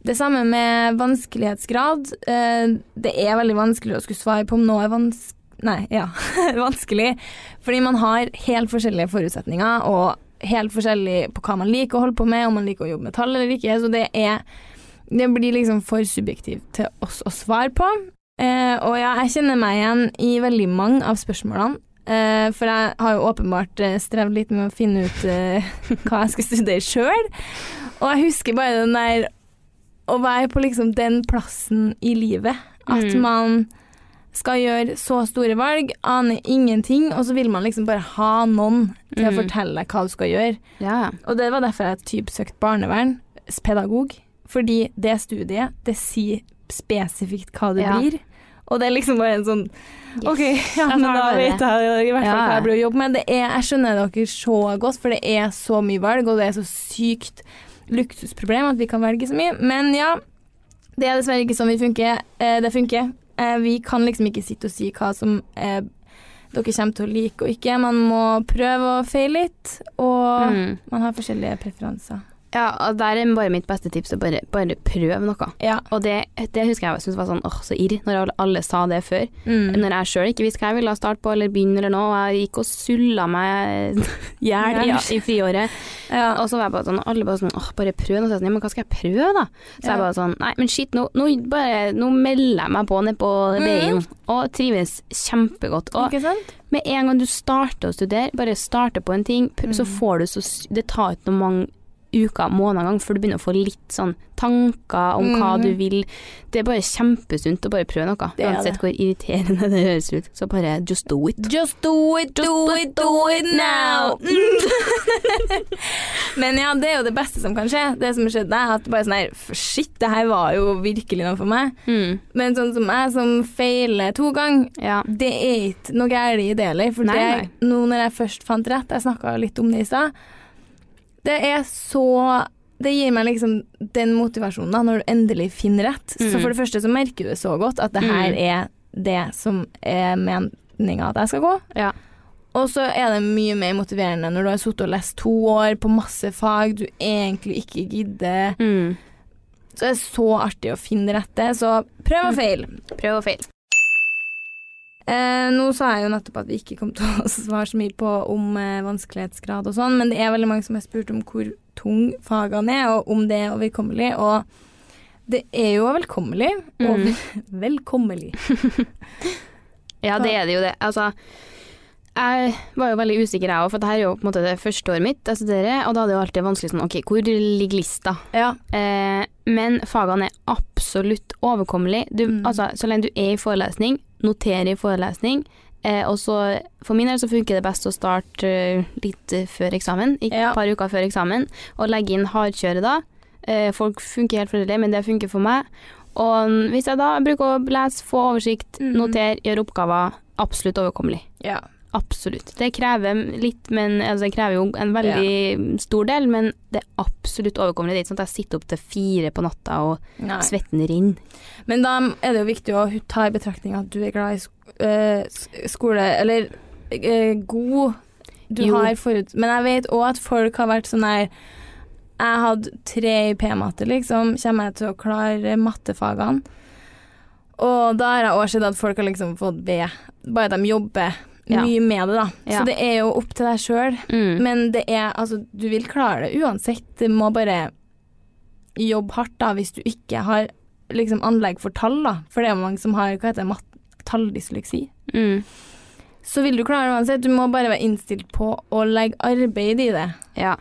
det samme med vanskelighetsgrad. Eh, Det er veldig vanskelig å skulle svare på om noe er vanskelig Nei, ja, vanskelig. Fordi man har helt forskjellige forutsetninger, og helt forskjellig på hva man liker å holde på med, om man liker å jobbe med tall eller ikke. Så det er Det blir liksom for subjektivt til oss å svare på. Eh, og ja, jeg kjenner meg igjen i veldig mange av spørsmålene. Eh, for jeg har jo åpenbart eh, strevd litt med å finne ut eh, hva jeg skal studere sjøl. Og jeg husker bare den der å være på liksom den plassen i livet at Mm. man skal gjøre så store valg, aner ingenting, og så vil man liksom bare ha noen til å Mm. fortelle deg hva du skal gjøre. Ja, ja. Og det var derfor jeg typ søkte barnevernspedagog. Fordi det studiet, det sier spesifikt hva du Ja. blir. Og det er liksom bare en sånn Yes. OK, ja, Ja, men sånn da var det. vet jeg i hvert fall Ja. hva jeg blir å jobbe med. Det er, jeg skjønner dere så godt, for det er så mye valg, og det er så sykt luksusproblem at vi kan velge så mye. Men ja, det er dessverre ikke sånn vi funker. Eh, det funker. Eh, vi kan liksom ikke sitte og si hva som eh, dere kommer til å like og ikke. Man må prøve og feile litt, og Mm. man har forskjellige preferanser. ja, og der er bare mitt beste tips å bare, bare prøve noe. Ja. Og det, det husker jeg syntes var sånn åh, så irr, når alle- alle sa det før. Mm. Når jeg sjøl ikke visste hva jeg ville starte på eller begynne eller noe, og jeg gikk og sulla meg i hjel i, i friåret. Ja. Og så var jeg bare sånn, alle bare sånn åh, bare prøv nå. Så jeg sånn, ja, men hva skal jeg prøve, da? Så Ja. jeg bare sånn, nei, men shit, nå, nå, bare, nå melder jeg meg på ned på Mm. veien, og trives kjempegodt. Og Ikke sant? med en gang du starter å studere, bare starter på en ting, pr- så får du så sy- Det tar ikke noe mange uker, måneder gang før du begynner å få litt sånn tanker om hva Mhm. du vil. Det er bare kjempesunt å bare prøve noe. Det er Uansett det. hvor irriterende det høres ut, så bare just do it. Just do it, do it, do it now! Mm. Men ja, det er jo det beste som kan skje. Det som skjedde, er at bare sånn her "F- Shit, det her var jo virkelig noe for meg. Mm. Men sånn som jeg, som feiler to ganger, Ja. det er ikke noe galt i det heller. For Nei, det, nå når jeg først fant rett, jeg snakka litt om det i stad, det er så det gir meg liksom den motivasjonen da, når du endelig finner rett. Så Mm. for det første så merker du det så godt at det her Mm. er det som er meninga at jeg skal gå. Ja. Og så er det mye mer motiverende når du har sittet og lest to år på masse fag du egentlig ikke gidder. Mm. Så det er så artig å finne det rette, så Mm. prøv og feil. Prøv og feil. Eh, nå sa jeg jo nettopp at vi ikke kom til å svare så mye på om eh, vanskelighetsgrad og sånn, men det er veldig mange som har spurt om hvor tung fagene er, og om det er overkommelig. Og det er jo velkommelig. Og Mm. velkommelig. Ja, det er det jo det. Altså, jeg var jo veldig usikker jeg òg, for det her er jo på en måte det første året mitt jeg studerer, og da er det jo alltid vanskelig sånn OK, hvor ligger lista? Ja. Eh, men fagene er absolutt overkommelige. Du, Mm. altså, så lenge du er i forelesning, noterer i forelesning, eh, og så for min del så funker det best å starte eh, litt eh, før eksamen, et Ja. par uker før eksamen, og legge inn hardkjøret da. Eh, folk funker helt forskjellig, men det funker for meg. Og mm, hvis jeg da bruker å lese, få oversikt, Mm. notere, gjøre oppgaver, absolutt overkommelig. ja. Absolutt. Det krever litt, men altså, det krever jo en veldig stor del, men det er absolutt overkommelig. Det er ikke sånn at jeg sitter opp til fire på natta og Nei. svetten renner. Men da er det jo viktig å ta i betraktning at du er glad i sk eh, s- skole Eller eh, god du Jo. har forut... Men jeg vet òg at folk har vært sånn her Jeg hadde tre i P-matte, liksom. Kommer jeg til å klare mattefagene? Og da har jeg òg sett at folk har liksom fått B. Bare at de jobber Ja. mye med det, da. Ja. Så det er jo opp til deg sjøl. Mm. Men det er Altså, du vil klare det uansett. Du må bare jobbe hardt, da, hvis du ikke har liksom anlegg for tall, da. For det er jo mange som har hva heter det, mat- talldysleksi. Mm. Så vil du klare det uansett. Du må bare være innstilt på å legge arbeid i det. Ja.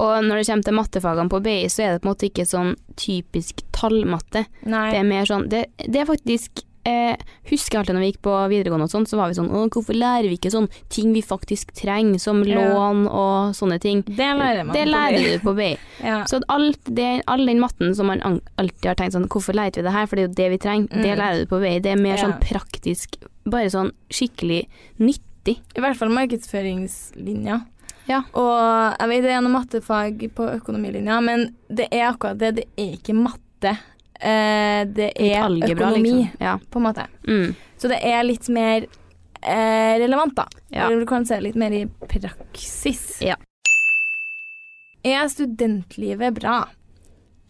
Og når det kommer til mattefagene på BI, så er det på en måte ikke sånn typisk tallmatte. Nei. Det er mer sånn Det, det er faktisk Eh, husker jeg alltid når vi gikk på videregående og sånn, så var vi sånn Å, hvorfor lærer vi ikke sånn ting vi faktisk trenger, som Ja. lån og sånne ting? Det lærer man Det på lærer BI. du på BI. Ja. Så at alt det, all den matten som man an- alltid har tenkt sånn, hvorfor leter vi det her, for det er jo det vi trenger, det Mm. lærer du på vei. Det er mer Ja. sånn praktisk, bare sånn skikkelig nyttig. I hvert fall markedsføringslinja. Ja. Og jeg vet det er noe mattefag på økonomilinja, men det er akkurat det. Det er ikke matte. Eh, det Litt er algebra, økonomi, liksom. Ja. på en måte. Mm. Så det er litt mer eh, relevant, da. Ja. Eller du kan se litt mer i praksis. Ja. Er studentlivet bra?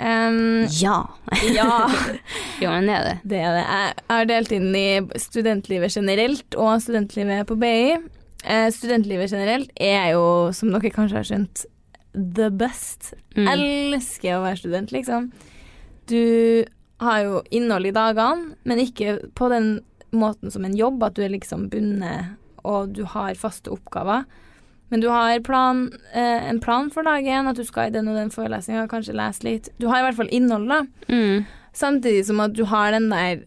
Em, ja. ja, Jo, men det er det. det er det. Jeg har delt inn i studentlivet generelt og studentlivet på BI. Eh, studentlivet generelt er jo, som dere kanskje har skjønt, the best. Mm. Elsker å være student, liksom. Du har jo innhold i dagene, men ikke på den måten som en jobb, at du er liksom bundet og du har faste oppgaver. Men du har plan, eh, en plan for dagen, at du skal i den og den forelesninga, kanskje lese litt. Du har i hvert fall innhold, da. Mm. Samtidig som at du har den der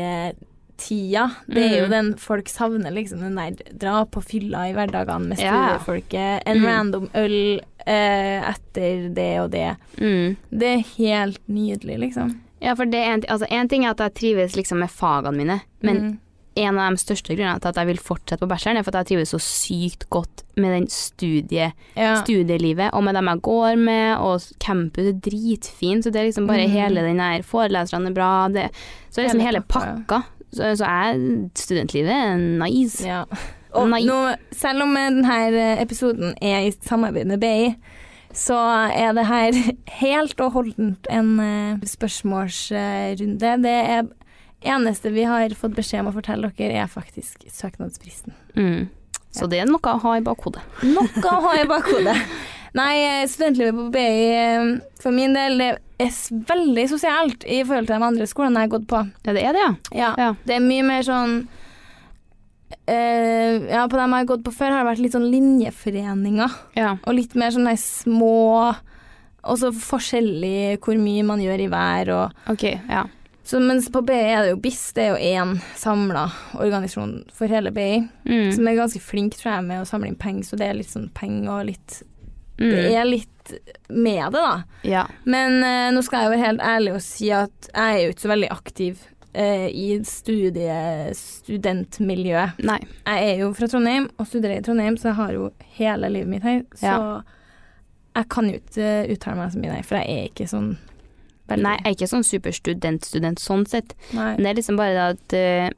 studietida. Det er jo Mm. den folk savner, liksom. Den der dra på fylla i hverdagene med Ja. studiefolket. En Mm. random øl eh, etter det og det. Mm. Det er helt nydelig, liksom. Ja, for det er en, altså, en ting er at jeg trives liksom med fagene mine, men Mm. en av de største grunnene til at jeg vil fortsette på bacheloren, er for at jeg trives så sykt godt med den studie, ja. studielivet, og med dem jeg går med, og campus er dritfint, så det er liksom bare Mm. hele den her Foreleserne er bra, det Så det er liksom hele Hele pakka, pakka. Så, så er studentlivet er nice. Ja. Og Nei. nå, selv om denne episoden er i samarbeid med BI, så er det her helt og holdent en eh, spørsmålsrunde. Det er eneste vi har fått beskjed om å fortelle dere, er faktisk søknadsfristen. Mm. Så det er noe å ha i bakhodet. Noe å ha i bakhodet. Nei, studentlivet på BI eh, for min del det er s- veldig sosialt i forhold til de andre skolene jeg har gått på. Ja, det er det, ja. Ja, Ja. Det er mye mer sånn eh, eh, ja, på dem jeg har gått på før, har det vært litt sånn linjeforeninger. Og litt mer sånn de små Og så forskjellig hvor mye man gjør i hver og Så mens på BI er det jo BIS, det er jo én samla organisasjon for hele BI, Mm. som er ganske flink, tror jeg, med å samle inn penger, så det er litt sånn penger og litt Mm. Det er litt med det, da. Ja. Men eh, nå skal jeg jo være helt ærlig og si at jeg er jo ikke så veldig aktiv eh, i studie, studentmiljøet. Nei. Jeg er jo fra Trondheim og studerer i Trondheim, så jeg har jo hele livet mitt her. Så Ja. jeg kan jo ikke eh, uttale meg så mye, nei, for jeg er ikke sånn veldig Nei, jeg er ikke sånn superstudent-student sånn sett. Nei. Men det er liksom bare det at eh,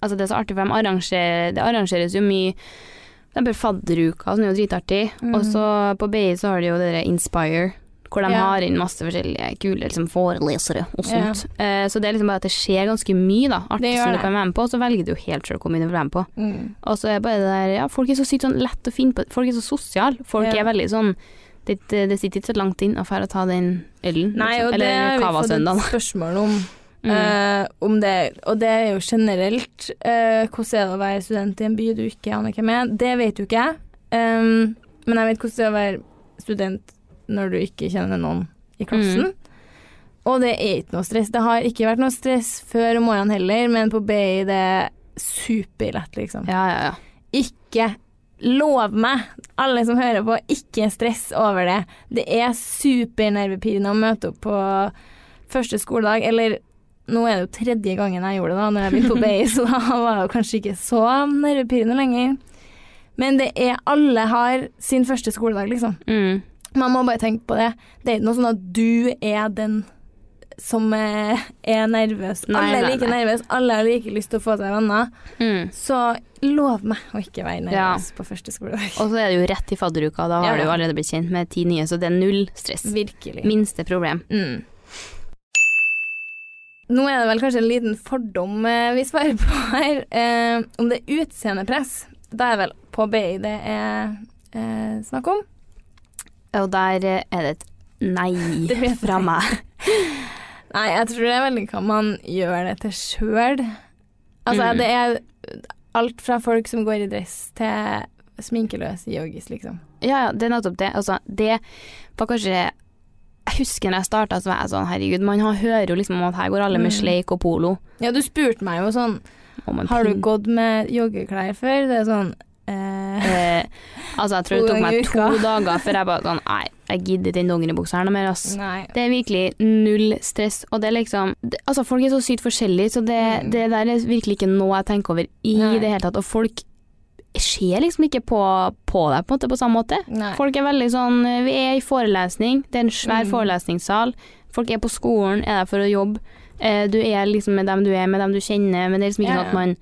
Altså, det er så artig, for de arrangerer, det arrangeres jo mye Det er bare fadderuka, som er jo dritartig. Mm. Og så på BI så har de jo det der Inspire, hvor de Ja. har inn masse forskjellige kule liksom, forelesere og Ja. sånt. Eh, så det er liksom bare at det skjer ganske mye, da. Artig Det gjør som du det. kan være med på, og så velger du jo helt sjøl hvor mye du vil være med på. Mm. Og så er bare det der Ja, folk er så sykt sånn lett å finne på Folk er så sosiale. Folk Ja. er veldig sånn det, det det sitter ikke så langt inn å dra og ta den ølen, Nei, liksom. og det har eller vi fått Cava-søndagen. et spørsmål om. Mm. eh, om det, og det er jo generelt eh, hvordan er det å være student i en by du ikke aner hvem er. Det vet jo ikke jeg. Um, men jeg vet hvordan det er å være student når du ikke kjenner noen i klassen. Og det er ikke noe stress. Det har ikke vært noe stress før om morgenen heller, men på BI det er superlett, liksom. Ja, ja, ja. Ikke lov meg, alle som hører på, ikke stress over det. Det er supernervepirrende å møte opp på første skoledag, eller nå er det jo tredje gangen jeg gjorde det da, når jeg begynte på BI, så da var jeg jo kanskje ikke så nervepirrende lenger. Men det er alle har sin første skoledag, liksom. Mm. Man må bare tenke på det. Det er ikke noe sånn at du er den som eh, er nervøs. Nei, alle er nei, like nei. nervøs, alle har like lyst til å få seg venner. Mm. Så lov meg å ikke være Ja. nervøs på første skoledag. Og så er det jo rett i fadderuka, da har Ja, ja. du jo allerede blitt kjent med ti nye, så det er null stress. Virkelig. Minste problem. Mm. Nå er det vel kanskje en liten fordom eh, vi svarer på her. Eh, om det er utseendepress, da er vel på BI det er eh, snakk om. Og der eh, er det et nei Det vet fra jeg. meg. Nei, jeg tror det er veldig hva man gjør det til sjøl. Altså, Mm. det er alt fra folk som går i dress, til sminkeløse joggis, liksom. Ja, ja, det er nettopp det. Altså, det var kanskje Jeg husker når jeg starta, så var jeg sånn herregud, man har- hører jo liksom om at her går alle med Mm. sleik og polo. Ja, du spurte meg jo sånn Og man Har du pin- gått med joggeklær før? Det er sånn eh, Eh, altså, jeg To tror det tok ganger i meg to uka. dager før jeg bare sånn Nei, jeg gidder ikke den dongeribuksa her noe mer, ass. Nei. Det er virkelig null stress, og det er liksom det, Altså, folk er så sykt forskjellige, så det, Mm. det der er virkelig ikke noe jeg tenker over i Nei. det hele tatt. Og folk ser liksom ikke på, på deg på en måte på samme måte. Nei. Folk er veldig sånn Vi er i forelesning, det er en svær Mm. forelesningssal. Folk er på skolen, er der for å jobbe. Eh, Du er liksom med dem du er, med dem du kjenner, men det er liksom Ja, ikke noe ja. at man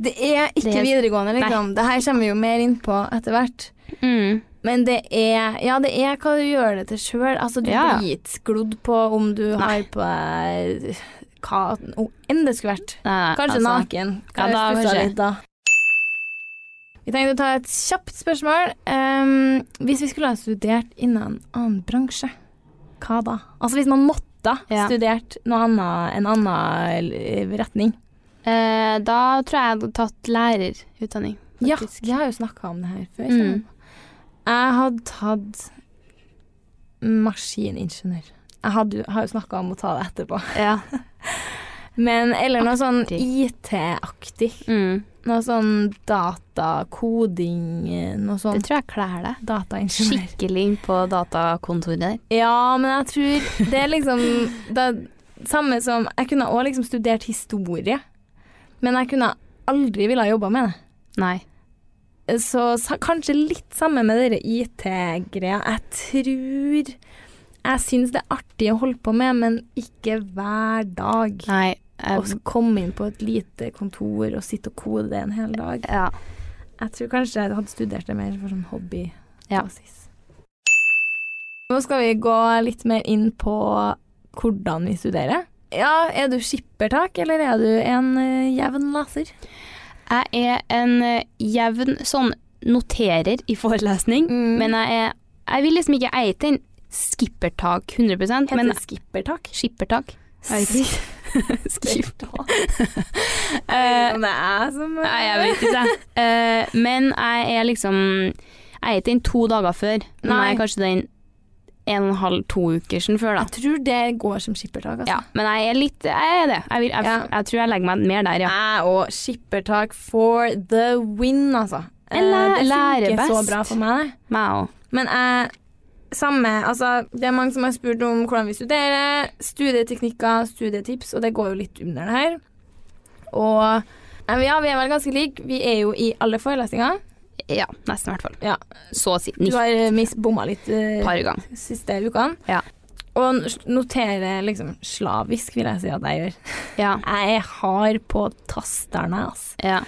Det er ikke Det er- videregående, Nei. liksom. Det her kommer vi jo mer inn på etter hvert. mm, Men det er Ja, det er hva du gjør det til sjøl. Altså, du Ja, ja. blir ikke sklodd på om du har på deg hva oh, enn det skulle vært. nei, nei, Kanskje altså. naken. Ja, da jeg stussa kanskje. litt da. Vi tenkte å ta et kjapt spørsmål. Ehm, hvis vi skulle ha studert innen en annen bransje, hva da? Altså hvis man måtte Ja. studert noe annet, en annen retning. Eh, Da tror jeg jeg hadde tatt lærerutdanning. Ja, faktisk. vi har jo snakka om det her før. Mm. kjenner jeg. Jeg hadde tatt maskiningeniør. Jeg hadde, har jo snakka om å ta det etterpå. Ja. Men, eller noe sånn Artig. IT-aktig. Mm. Noe sånn datakoding, eh, noe Det sånn tror jeg kler deg. dataingeniør. Skikkelig inn på datakontoret der. Ja, men jeg tror det er liksom det er samme som Jeg kunne òg liksom studert historie, men jeg kunne aldri ville ha jobba med det. Nei. Så sa, kanskje litt samme med dere IT-greia. Jeg tror Jeg syns det er artig å holde på med, men ikke hver dag. Nei. Å Jeg, komme inn på et lite kontor og sitte og kode det en hel dag. ja. Jeg tror kanskje jeg hadde studert det mer for sånn hobby. Ja. basis. Nå skal vi gå litt mer inn på hvordan vi studerer. Ja, er du skippertak, eller er du en eh, jevn laser? jeg er en eh, jevn sånn noterer i forelesning, Mm. men jeg er Jeg vil liksom ikke eie til en skippertak 100 Heter men det skippertak? skippertak. Jeg vet ikke. Skriv på. Eh, Om det er jeg som Nei, jeg vet ikke. jeg. Eh, men jeg er liksom Jeg er ikke den to dager før, men Nei. jeg er kanskje den en og en halv, to uker siden før, da. Jeg tror det går som skippertak, altså. Ja, men jeg er litt Jeg er det. Jeg, vil, jeg, Ja. jeg tror jeg legger meg mer der, ja. Jeg og skippertak for the win, altså. Jeg læ- Eh, det lærer funker så best. bra for meg, det. Meg òg. Men jeg samme, altså, det er mange som har spurt om hvordan vi studerer, studieteknikker, studietips, og det går jo litt under det her. Og eh, ja, vi er vel ganske like. Vi er jo i alle forelesninger. Ja, nesten i hvert fall. Ja. Så å si. Du Nitt har eh, miss bomma litt eh, par ganger. siste ukene. Ja. Og n- noterer liksom slavisk, vil jeg si at jeg gjør. Ja. Jeg er hard på tasterne, altså. Ja.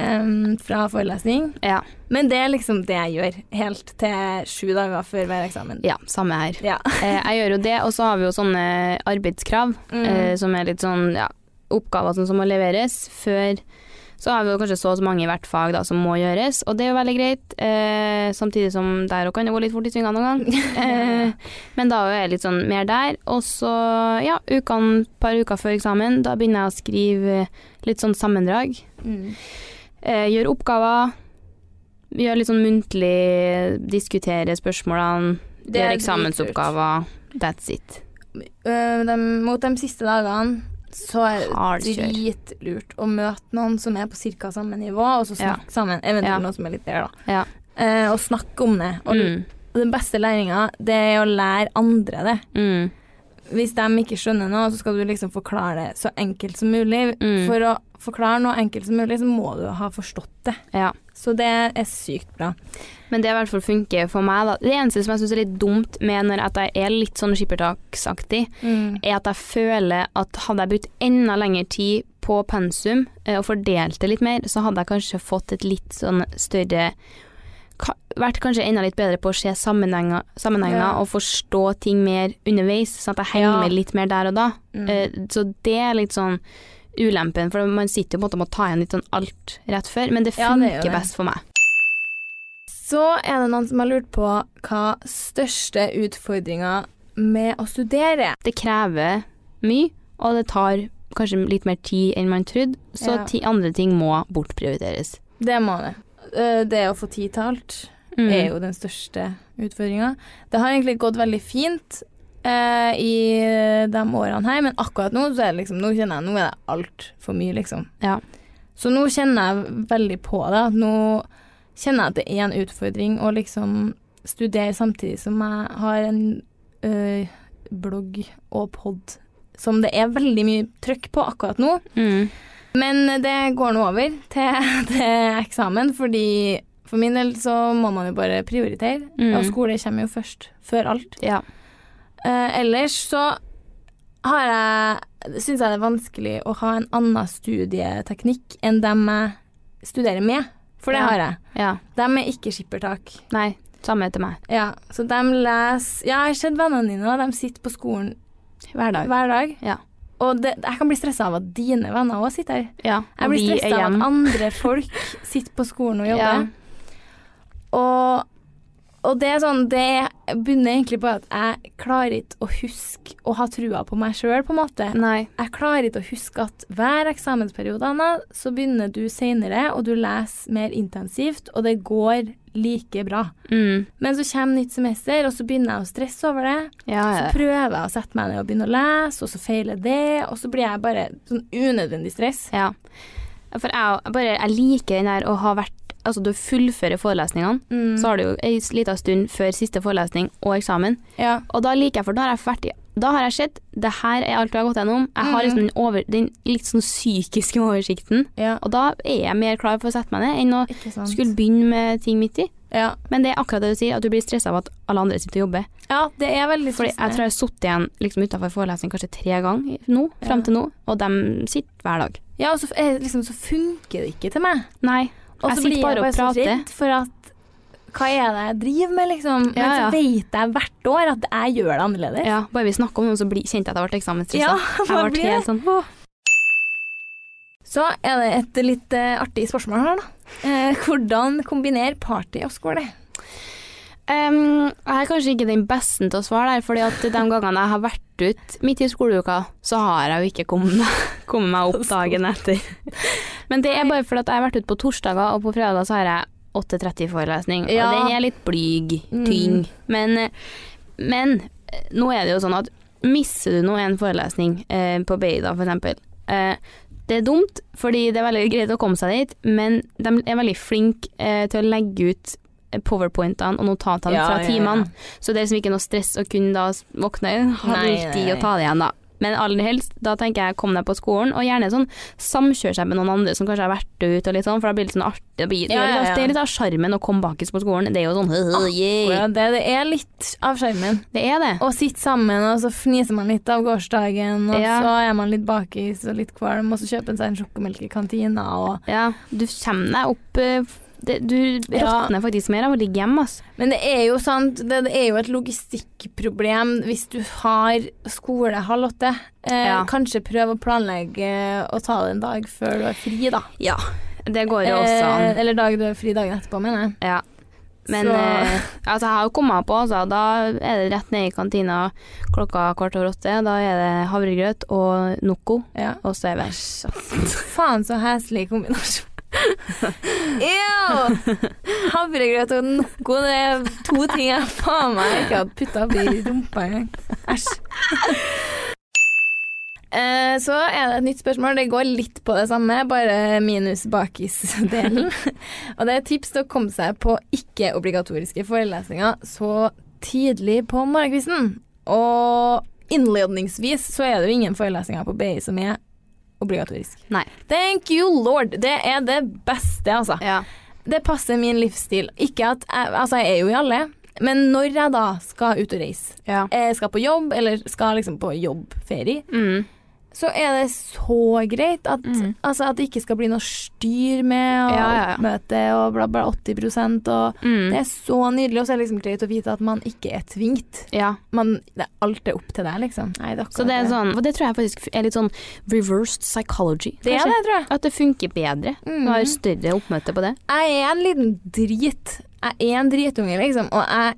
Em, fra forelesning. ja. Men det er liksom det jeg gjør, helt til sju dager før hver eksamen. ja samme her. Ja. Eh, jeg gjør jo det, og så har vi jo sånne arbeidskrav Mm. eh, som er litt sånn ja, oppgaver sånn som må leveres før så har vi jo kanskje så og så mange i hvert fag da, som må gjøres, og det er jo veldig greit. Eh, samtidig som der òg kan det gå litt fort i svingene noen gang. Eh, men da er jeg litt sånn mer der. Og så, ja, ukene, par uker før eksamen, da begynner jeg å skrive litt sånn sammendrag. Mm. Eh, gjør oppgaver. Gjør litt sånn muntlig, diskutere spørsmålene. Det Gjør er eksamensoppgaver. That's it. Øh, dem- mot de siste dagene så er det Hardkjør. dritlurt å møte noen som er på ca. samme nivå, og så snakke sammen. Eventuelt Ja. noen som er litt bedre, da. Ja. Eh, og snakke om det. Og Mm. den beste læringa, det er å lære andre det. Mm. Hvis de ikke skjønner noe, så skal du liksom forklare det så enkelt som mulig. Mm. For å forklare noe enkelt som mulig, så må du ha forstått det. Ja. Så det er sykt bra. Men det i hvert fall funker for meg. Da. Det eneste som jeg syns er litt dumt med når at jeg er litt sånn skippertaksaktig, Mm. er at jeg føler at hadde jeg brukt enda lengre tid på pensum eh, og fordelt det litt mer, så hadde jeg kanskje fått et litt sånn større ka- vært kanskje enda litt bedre på å se sammenhenger, sammenhenger Ja. og forstå ting mer underveis, sånn at jeg henger Ja. med litt mer der og da. Mm. Eh, så det er litt sånn ulempen, for man sitter jo på en måte og må ta igjen litt sånn alt rett før, men det Ja, det funker gjør det. best for meg. Så er det noen som har lurt på hva største utfordringa med å studere er. det krever mye, og det tar kanskje litt mer tid enn man trodde, så Ja. ti andre ting må bortprioriteres. Det må det. Eh, Det å få tid til alt Mm. er jo den største utfordringa. Det har egentlig gått veldig fint eh, i de årene her, men akkurat nå så er det liksom, nå kjenner jeg nå er det altfor mye, liksom. Ja. Så nå kjenner jeg veldig på det. at Nå kjenner jeg at det er en utfordring å liksom studere samtidig som jeg har en eh, blogg og pod som det er veldig mye trøkk på akkurat nå. Mm. Men det går nå over til, til eksamen, fordi for min del så må man jo bare prioritere. Mm. Og skole kommer jo først, før alt. Ja. Eh, ellers så har jeg Syns jeg det er vanskelig å ha en annen studieteknikk enn dem jeg studerer med, for det Ja. har jeg. ja. Dem er ikke skippertak. Nei, samme til meg. Ja, så dem leser Ja, jeg har sett vennene dine, og de sitter på skolen Hver dag. hver dag. Ja. Og det, jeg kan bli stressa av at dine venner òg sitter her. Ja, Jeg og blir vi er stressa av hjem. at andre folk sitter på skolen og Ja. jobber. Og, og det er sånn Det bunner egentlig på at jeg klarer ikke å huske å ha trua på meg sjøl, på en måte. Nei. Jeg klarer ikke å huske at hver eksamensperiode, Anna, så begynner du seinere, og du leser mer intensivt, og det går like bra. Mm. Men så kommer nytt semester, og så begynner jeg å stresse over det. Ja, Så ja. prøver jeg å sette meg ned og begynne å lese, og så feiler det, og så blir jeg bare sånn unødvendig stress. ja. For jeg, jeg bare, jeg liker den der å ha vært Altså, du fullfører forelesningene, Mm. så har du jo ei lita stund før siste forelesning og eksamen. Ja. Og da liker jeg, for da har jeg vært i Da har jeg sett Det her er alt jeg har gått gjennom. Jeg har Mm. liksom den, over, den litt sånn psykiske oversikten. Ja. Og da er jeg mer klar for å sette meg ned enn å Ikke sant. skulle begynne med ting midt i. Ja. Men det er akkurat det du sier, at du blir stressa av at alle andre sitter og jobber. ja, det er veldig Fordi jeg tror jeg har sittet igjen liksom utafor forelesning kanskje tre ganger nå, fram til nå, og de sitter hver dag. Ja, og så, f- eh, liksom, så funker det ikke til meg. Nei. Og jeg så blir sitter jeg bare bare og så prater. redd for at hva er det jeg driver med, liksom? Ja, Men så ja. vet jeg hvert år at jeg gjør det annerledes. Ja, bare vi snakker om noe, så blir- kjente jeg at jeg ble eksamensstressa. Ja, man jeg ble blir helt sånn åh. Så er det et litt eh, artig spørsmål her, da. Eh, hvordan kombinere party og skole? Ehm, jeg er kanskje ikke den beste til å svare der, fordi at de gangene jeg har vært ut midt i skoleuka, så har jeg jo ikke kommet meg, kommet meg opp dagen etter. Men det er bare fordi at jeg har vært ute på torsdager, og på fredager så har jeg 8.30-forelesning. Ja. Og den er litt blyg, tyng. Men, men nå er det jo sånn at misser du nå en forelesning eh, på Beida for eksempel, eh, det er dumt, fordi det er veldig greit å komme seg dit, men de er veldig flinke eh, til å legge ut eh, powerpointene og notatene Ja, fra ja, ja. timene. Så det er liksom ikke noe stress å kunne da s- våkne halv Nei, nei, ti og nei. ta det igjen, da. Men aller helst, da tenker jeg kom deg på skolen, og gjerne sånn samkjør seg med noen andre som kanskje har vært ute og litt sånn, for da blir det litt sånn artig. Det, blir, Ja, ja, ja. det er litt av sjarmen å komme bakis på skolen. Det er jo sånn yeah. Akkurat det. Det er litt av skjermen. Det er det. Å sitte sammen, og så fniser man litt av gårsdagen, og Ja. så er man litt bakis og litt kvalm, og så kjøper man seg en sjokomelk i kantina, og Ja, du kommer deg opp eh, f- det, Du Ja. råtner faktisk mer av å ligge hjemme, ass. Men det er jo sant, det, det er jo et logistikkproblem hvis du har skole halv åtte. Eh, Ja. Kanskje prøv å planlegge å ta det en dag før du er fri, da. Ja, det går jo også an. Eh, eller dag du er fri dagen etterpå, mener jeg. Ja. Men Så- eh, altså, jeg har jo kommet meg på, altså. Da er det rett ned i kantina klokka kvart over åtte. Da er det havregrøt og Noco, og så er vi Faen, så heslig kombinasjon. Ew! Havregrøt og noe, det er to ting jeg faen meg ikke hadde putta oppi rumpa engang. Æsj. Eh, Så er det et nytt spørsmål. Det går litt på det samme, bare minus bakisdelen. Og det er tips til å komme seg på ikke-obligatoriske forelesninger så tidlig på morgenkvisten. Og innledningsvis så er det jo ingen forelesninger på BI som er obligatorisk. Nei. Thank you lord. Det er det beste, altså. Det passer min livsstil. Ikke at jeg, altså, jeg er jo i alle, men når jeg da skal ut og reise, jeg skal på jobb, eller skal liksom på jobbferie, Mm, så er det så greit at, altså, at det ikke skal bli noe styr med og Ja, ja, ja. oppmøte og bla, bla, 80 og Mm. Det er så nydelig, og så er det liksom greit å vite at man ikke er tvingt. Ja. Man, det, alt er opp til deg, liksom. Nei, det er Så det er sånn, og det tror jeg faktisk er litt sånn reversed psychology. Det er kanskje. det, Mhm. tror jeg. At det funker bedre. Du har større oppmøte på det. Jeg er en liten drit. Jeg er en dritunge, liksom. Og jeg,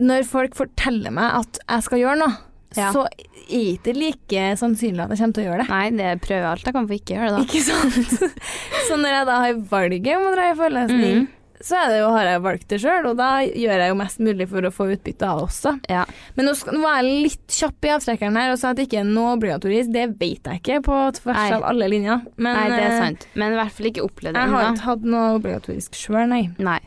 når folk forteller meg at jeg skal gjøre noe, Ja. så er det ikke like sannsynlig at jeg kommer til å gjøre det. Nei, det prøver jeg alt jeg kan for ikke å gjøre det, da. Ikke sant? så når jeg da har valget om å dra i forelesning, Mm. så er det jo, har jeg valgt det sjøl, og da gjør jeg jo mest mulig for å få utbytte av det også. Men nå, skal, nå var jeg litt kjapp i avtrekkeren her og sa at det ikke er noe obligatorisk. Det vet jeg ikke på tvers Nei. av alle linjer. Men, Nei, det er eh, sant. Men i hvert fall ikke opplevd det Jeg har ennå. ikke hatt noe obligatorisk sjøl, nei. Nei.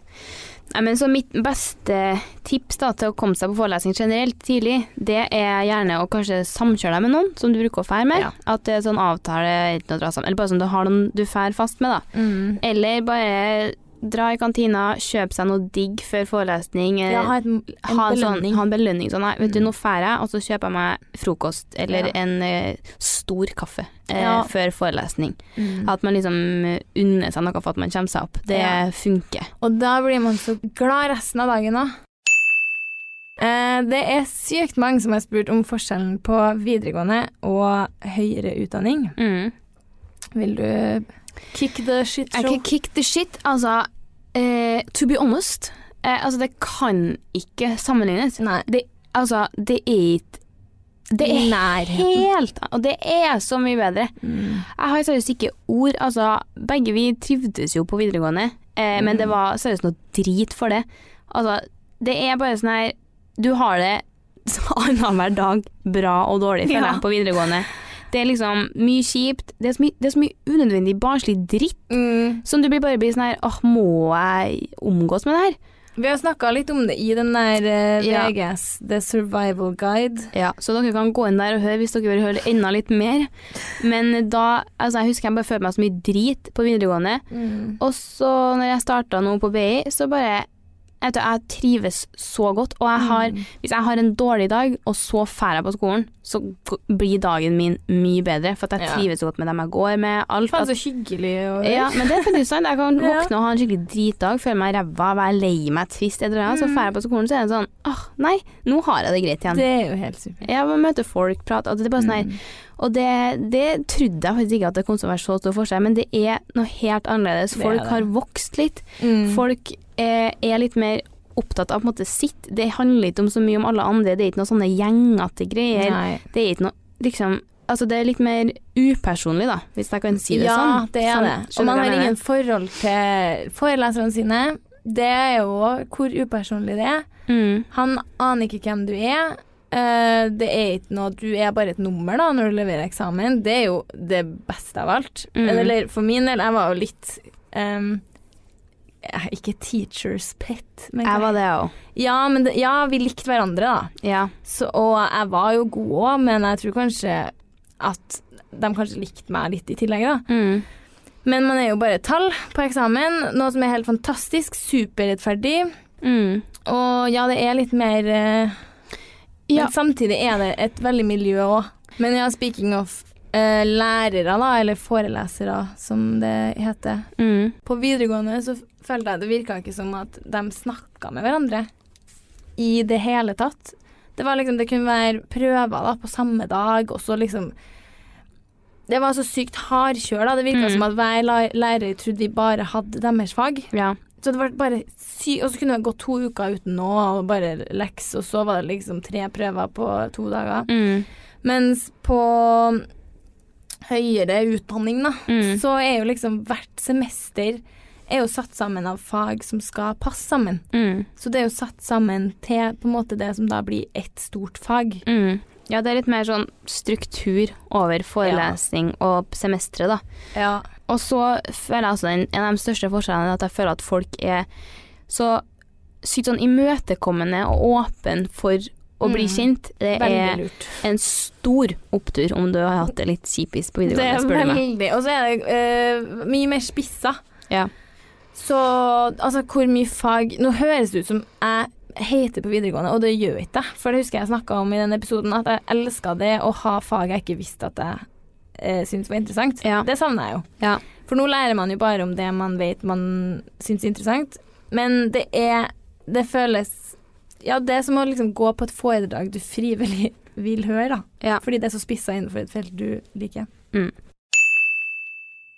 Nei, men så mitt beste tips da, til å komme seg på forelesning generelt tidlig, det er gjerne å kanskje samkjøre deg med noen som du bruker å fære med. At det er sånn avtale enten å dra sammen, eller bare sånn du har noen du fær fast med, da. Eller bare dra i kantina, kjøpe seg noe digg før forelesning. eh, Ja, ha et- en ha en belønning. Mm. Sånn, ha en belønning sånn, nei, vet du, nå fær jeg, og så kjøper jeg meg frokost eller Ja. en eh, stor kaffe eh, Ja. før forelesning. Mm. At man liksom eh, unner seg noe for at man kommer seg opp. Det Ja. funker. Og da blir man så glad resten av dagen òg. Eh, Det er sykt mange som har spurt om forskjellen på videregående og høyere utdanning. Vil du kick the shit Jeg show? kan kick the shit. Altså, eh, to be honest eh, Altså, det kan ikke sammenlignes. Det, altså, det er ikke Det er I nærheten. helt Og det er så mye bedre. Jeg har seriøst ikke ord. Altså, begge vi trivdes jo på videregående, eh, men det var seriøst noe drit for det. Altså, det er bare sånn her Du har det annenhver dag bra og dårlig, føler Ja. jeg, på videregående. Det er liksom mye kjipt. Det er så mye, det er så mye unødvendig barnslig dritt Mm. som du blir bare blir sånn her Åh, må jeg omgås med det her? Vi har snakka litt om det i den der eh, Ja. VGS, The Survival Guide. Ja, så dere kan gå inn der og høre hvis dere vil høre enda litt mer. Men da Altså, jeg husker jeg bare følte meg så mye drit på videregående. Mm. Og så når jeg starta nå på BI, så bare jeg, vet, du, jeg trives så godt, og jeg Mm. har, hvis jeg har en dårlig dag, og så drar jeg på skolen, så g- blir dagen min mye bedre, for at jeg Ja. trives så godt med dem jeg går med. Alt, Faen, at- så hyggelig å høre. Ja, men det er faktisk sant. Jeg kan Ja. våkne og ha en skikkelig dritdag, føle meg ræva, være lei meg, trist, et eller annet. Så Mm. drar jeg på skolen, så er det sånn åh, nei, nå har jeg det greit igjen. Det Mm. er jo helt supert. Ja, man møter folk, prater og det er bare sånn her. Og det, det trodde jeg faktisk ikke at det kom til å være så stor forskjell, men det er noe helt annerledes. Det er Folk det. har vokst litt. Mm. Folk eh, er litt mer opptatt av på en måte sitt. Det handler ikke om så mye om alle andre. Det er ikke noe sånne gjengete greier. Nei. Det er ikke noe liksom Altså, det er litt mer upersonlig, da, hvis jeg kan si det ja, sånn. det er Sånn, det. Og man skjønner du hva har jeg ingen mener? forhold til foreleserne sine. Det er jo hvor upersonlig det er. Mm. Han aner ikke hvem du er. Eh, Det er ikke noe Du er bare et nummer da når du leverer eksamen. Det er jo det beste av alt. Mm. Eller for min del, jeg var jo litt ehm, eh, Ikke teacher's pet, men Jeg var det òg. ja, men det, ja, vi likte hverandre, da. Ja. Så, og jeg var jo god òg, men jeg tror kanskje at de kanskje likte meg litt i tillegg, da. Mm. Men man er jo bare et tall på eksamen, noe som er helt fantastisk, superrettferdig. Mm. Og ja, det er litt mer eh, Ja. Men samtidig er det et veldig miljø òg. Men ja, speaking of eh, lærere, da, eller forelesere, som det heter. Mm. På videregående så følte jeg det virka ikke som at de snakka med hverandre i det hele tatt. Det var liksom, det kunne være prøver da, på samme dag, og så liksom Det var så sykt hardkjør, da. Det virka Mm. som at hver la- lærer trodde vi bare hadde deres fag. Ja. Så det var bare sy Og så kunne det gå to uker uten noe, og bare leks, og så var det liksom tre prøver på to dager. Mm. Mens på høyere utdanning, da, Mm. så er jo liksom hvert semester er jo satt sammen av fag som skal passe sammen. Mm. Så det er jo satt sammen til på en måte det som da blir ett stort fag. Mm. Ja, det er litt mer sånn struktur over forelesning og semestre, da. Ja. Og så føler jeg også den, en av de største forskjellene er at jeg føler at folk er så sykt sånn imøtekommende og åpen for å bli Mm. kjent. Det Veldig er lurt. en stor opptur om du har hatt det litt kjipis på Det videregående, er spør du meg. veldig Og så er det eh, mye mer spissa. Ja. Så altså, hvor mye fag Nå høres det ut som jeg heter på videregående, og det gjør jeg ikke. For det husker jeg snakka om i den episoden, at jeg elska det å ha fag jeg ikke visste at jeg eh, syntes var interessant. Ja. Det savner jeg jo. Ja. For nå lærer man jo bare om det man vet man syns er interessant. Men det er Det føles Ja, det er som å liksom gå på et foredrag du frivillig vil høre, da. Ja. Fordi det er så spissa innenfor et felt du liker. Mm.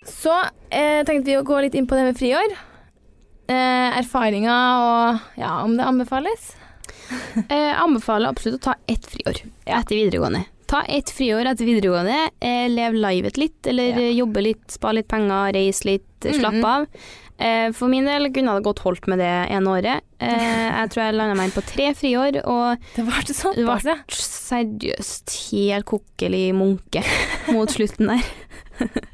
Så eh, tenkte vi å gå litt inn på det med friår. Eh, erfaringer og ja, om det anbefales. Eh, anbefaler absolutt å ta ett friår etter videregående. Ta ett friår etter videregående, eh, lev livet litt, eller Ja. eh, jobbe litt, spare litt penger, reise litt, eh, slappe Mhm. av. Eh, for min del kunne jeg det godt holdt med det ene året. Eh, jeg tror jeg landa meg inn på tre friår, og Det ble sånn. det ble seriøst helt kokkelig munke mot slutten der.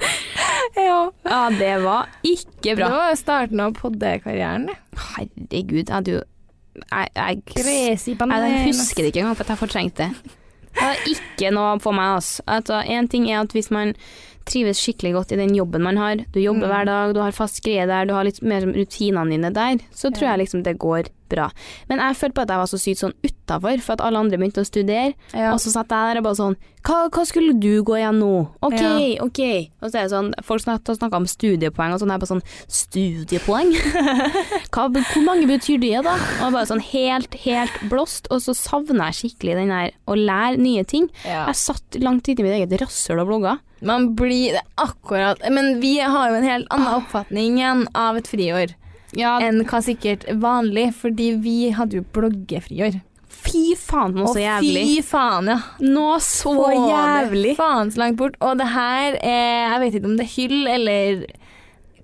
ja. Ja, det var ikke Det bra. var jo starten av poddekarrieren. Herregud, jeg hadde jo Jeg, jeg Crazy Nei, Jeg husker det ikke engang, for at jeg fortrengte det. Det er ikke noe for meg, altså. altså. En ting er at hvis man trives skikkelig godt i den jobben man har, du jobber Mm. hver dag, du har fast greie der, du har litt mer rutinene dine der, så tror Ja. jeg liksom det går bra. Men jeg følte på at jeg var så sykt sånn utafor, for at alle andre begynte å studere, Ja. og så satt jeg der og bare sånn Hva, hva skulle du gå igjen nå? OK, Ja. OK. Og så er det sånn Folk snakka om studiepoeng og sånn, jeg bare sånn Studiepoeng? hva, hvor mange betyr det, da? Og bare sånn helt, helt blåst. Og så savna jeg skikkelig den der å lære nye ting. Ja. Jeg satt langt inne i mitt eget rasshøl og blogga. Man blir det akkurat Men vi har jo en helt annen oppfatning igjen av et friår enn hva sikkert er vanlig, fordi vi hadde jo bloggefriår. Fy faen, noe Og så jævlig. fy faen, ja. Noe så Få det jævlig. Faen så langt bort. Og det her er Jeg vet ikke om det er hyll eller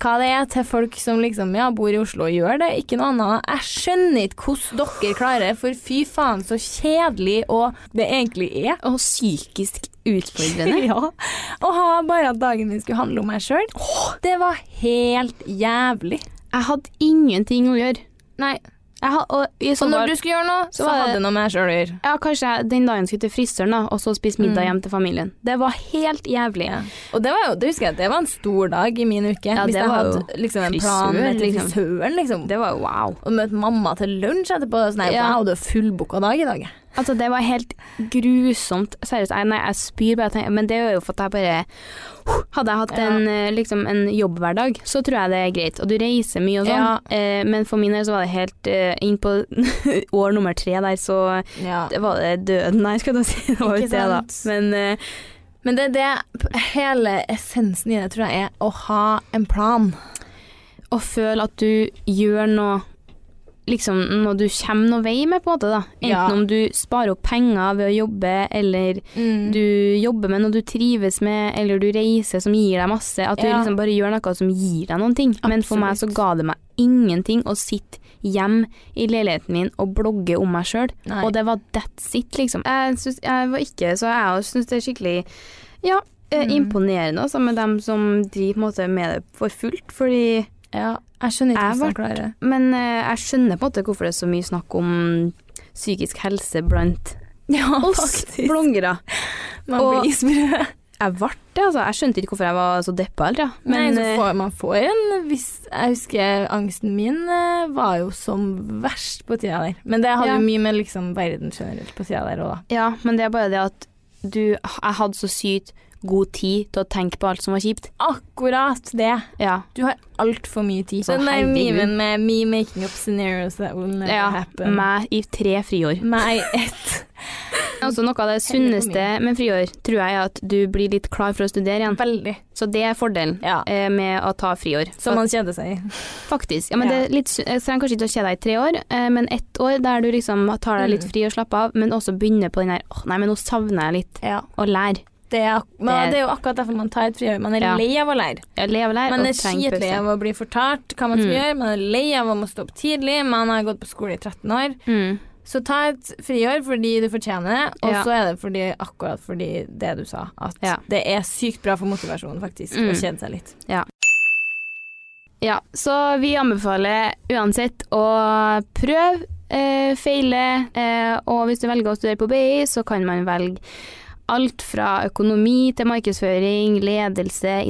hva det er til folk som liksom ja, bor i Oslo og gjør det, ikke noe annet. Jeg skjønner ikke hvordan dere klarer, for fy faen så kjedelig og det egentlig er. Og psykisk utfordrende. Ja. Å ha bare at dagen min skulle handle om meg sjøl, det var helt jævlig. Jeg hadde ingenting å gjøre. Nei. Jeg had, og, i Og når sommer- du skulle gjøre noe, så, var det- hadde det noe med meg sjøl å gjøre. Ja, kanskje jeg den dagen skulle til frisøren, da, og så spise middag Mm. hjem til familien. Det var helt jævlig. Ja. Og det, var jo, det husker jeg, det var en stor dag i min uke. Ja, hvis det jeg var jo hadde liksom, en plan frisør, med til liksom. frisøren, liksom. Det var jo wow. Og møte mamma til lunsj etterpå. og Sånn, her, Ja. Wow, du er fullbooka dag i dag. Altså, det var helt grusomt. Seriøst, jeg, nei, jeg spyr bare av tanken- Men det er jo for at jeg bare Hadde jeg hatt Ja. en, eh, liksom, en jobbhverdag, så tror jeg det er greit. Og du reiser mye og sånn, Ja. eh, men for min del så var det helt eh, inn på år nummer tre der, så Ja. det var det døden der, skal du si. Det var jo Ikke det, da. sant. Men eh, Men det er det hele essensen i det tror jeg er å ha en plan. å føle at du gjør noe liksom noe du kommer noen vei med, på en måte. da. Enten Ja. om du sparer opp penger ved å jobbe, eller Mm. du jobber med noe du trives med, eller du reiser som gir deg masse. At du Ja. liksom bare gjør noe som gir deg noen ting. Men for meg så ga det meg ingenting å sitte hjem i leiligheten min og blogge om meg sjøl. Nei. Og det var that's it, liksom. Jeg, synes, jeg var ikke Så jeg syns det er skikkelig Ja, eh, Mm. imponerende altså, med dem som driver på en måte, med det for fullt, fordi Ja, jeg skjønner ikke jeg hvordan jeg ble- klarer det. Men eh, jeg skjønner på en måte hvorfor det er så mye snakk om psykisk helse blant Ja, oss bloggere. Man Og- blir inspirert. Jeg ble det, altså. Jeg skjønte ikke hvorfor jeg var så deppa heller. ja. Nei, Men så eh, får, man får en viss Jeg husker angsten min eh, var jo som verst på tida der. Men det hadde Ja. jo mye med liksom verden generelt på tida der òg, da. eh, ja, men det er bare det at du Jeg hadde så sykt god tid til å tenke på alt som var kjipt. Akkurat det. Ja. Du har altfor mye tid. Så Den der herregud. memen med me making up scenarios that will never Ja, happen. Mm. meg i tre friår. Meg ett. Også noe av det sunneste med friår tror jeg er at du blir litt klar for å studere igjen. Veldig. Så det er fordelen Ja. eh, med å ta friår. Som man kjeder seg i. Faktisk. Ja, men Ja. Det er litt, su- jeg trenger kanskje ikke å kjede deg i tre år, eh, men ett år der du liksom tar deg litt Mm. fri og slapper av, men også begynner på den her Åh, nei, men nå savner jeg litt Ja. å lære. Det er, ak- men Det- det er jo akkurat derfor man tar et friår. Man er Ja. lei av å lære. Jeg lever der Man og er trenger skitlei pause. av å bli fortalt hva man skal Mm. gjøre. Man er lei av å må stå opp tidlig. Man har gått på skole i 13 år. Mm. Så ta et friår fordi du fortjener det, og Ja. så er det fordi, akkurat fordi det du sa, at Ja. det er sykt bra for motivasjonen, faktisk, Mm. å kjede seg litt. Ja, så vi anbefaler uansett å prøve, eh, feile, eh, og hvis du velger å studere på BI, så kan man velge alt fra økonomi til markedsføring, ledelse,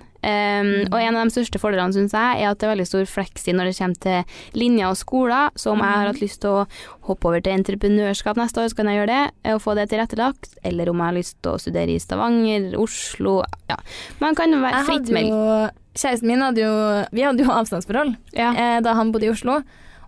Mm. Ehm, og en av de største fordelene syns jeg er at det er veldig stor fleks i når det kommer til linjer og skoler. Så om jeg Mm. har hatt lyst til å hoppe over til entreprenørskap neste år, så kan jeg gjøre det eh, og få det tilrettelagt. Eller om jeg har lyst til å studere i Stavanger, Oslo Ja. Man kan være Jeg fritt hadde meldt. jo, kjæresten min hadde jo Vi hadde jo avstandsforhold Ja. eh, da han bodde i Oslo.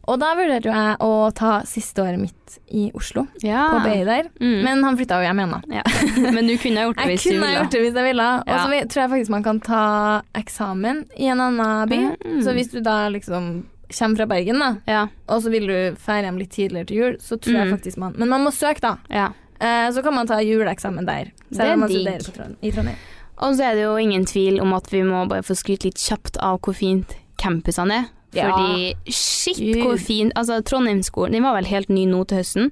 Og da vurderte jo jeg å ta siste året mitt i Oslo, Ja. på BI der. Mm. Men, Men han flytta jo hjem igjen, da. ja. Men du kunne ha gjort det Jeg hvis du kunne ha ville. gjort det hvis jeg ville. Og Ja. så vet- tror jeg faktisk man kan ta eksamen i en annen by. Mm. Så hvis du da liksom kommer fra Bergen, da, Ja, og så vil du feire hjem litt tidligere til jul, så tror jeg Mm. faktisk man Men man må søke, da. ja. Eh, så kan man ta juleeksamen der. Det er Selv om man digg. studerer på Trond i Trondheim. Og så er det jo ingen tvil om at vi må bare få skryte litt kjapt av hvor fint campusene er. Ja. Fordi shit, Gud. hvor fin Altså, Trondheimsskolen den var vel helt ny nå til høsten.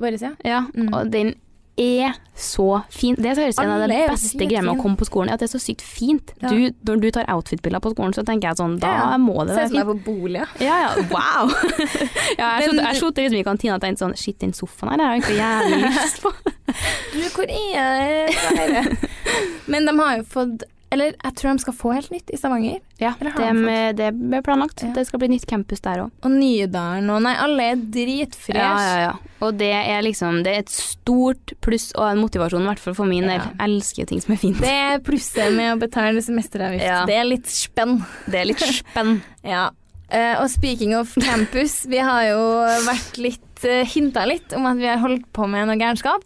Våres, ja. Ja, Mm. Og den er så fin. Det er seriøst en av de Alle er jo beste sykt greiene med fin. å komme på skolen, er at det er så sykt fint. Ja. Du, når du tar outfit-bilder på skolen, så tenker jeg sånn, da Ja. må det Ser være ut som jeg fint. er på boliga. Ja, ja, wow. ja, jeg Men- satt- jeg satt liksom i kantina og tenkte sånn, shit, den sofaen her, det har jeg ikke jævlig lyst på. Du, hvor er det? Men de har jo fått Eller jeg tror de skal få helt nytt i Stavanger. Ja, Eller har det, han med, det ble planlagt. Ja. Det skal bli nytt campus der òg. Og Nydalen og Nei, alle er dritfresh. Ja, ja, ja. Og det er liksom Det er et stort pluss og en motivasjon, i hvert fall for min del. Ja. Jeg elsker jo ting som er fint. Det er plusset med å betale semesteravgift. Ja. Det er litt spenn. Det er litt spenn. Ja. Eh, og speaking of campus, vi har jo vært litt uh, hinta litt om at vi har holdt på med noe gærenskap.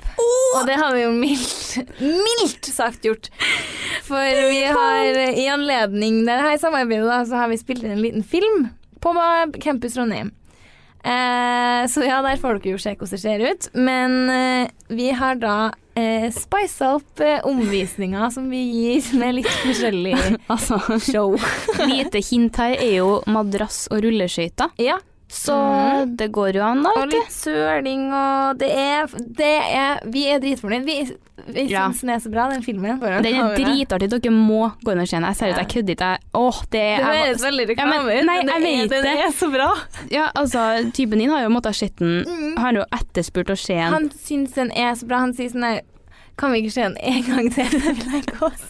Og det har vi jo mildt, mildt sagt gjort. For vi har eh, i anledning det her samarbeidet, da, så har vi spilt inn en liten film på ba- Campus Trondheim. Eh, så ja, der får dere jo se hvordan det ser ut. Men eh, vi har da uh, spisa opp eh, omvisninga som vi gir med litt forskjellig Altså, show. lite hint her er jo madrass og rulleskøyter. Ja, Så det går jo an, da. Og litt søling og Det er, det er Vi er dritfornøyd. Vi, vi Ja. syns den er så bra, den filmen. Den er dritartig. Dere må gå inn og se den. Jeg ser ut, jeg kødder ikke. Jeg- Åh, det Det er høres veldig Ja, men- reklame ut. nei, men det jeg er- vet Den det. er så bra. Ja, altså, typen din har jo måttet ha sett den. Har jo etterspurt å se den. Han syns den er så bra. Han sier sånn her Kan vi ikke se den en gang til før vi legger oss?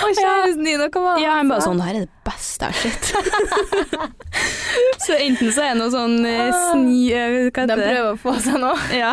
Og kjæresten din og hva Ja, han bare sånn, det her er det beste jeg har sett. så enten så er det noe sånn eh, sni... eh, Hva Ah. De heter det? prøver Ah. å få seg nå. Ja.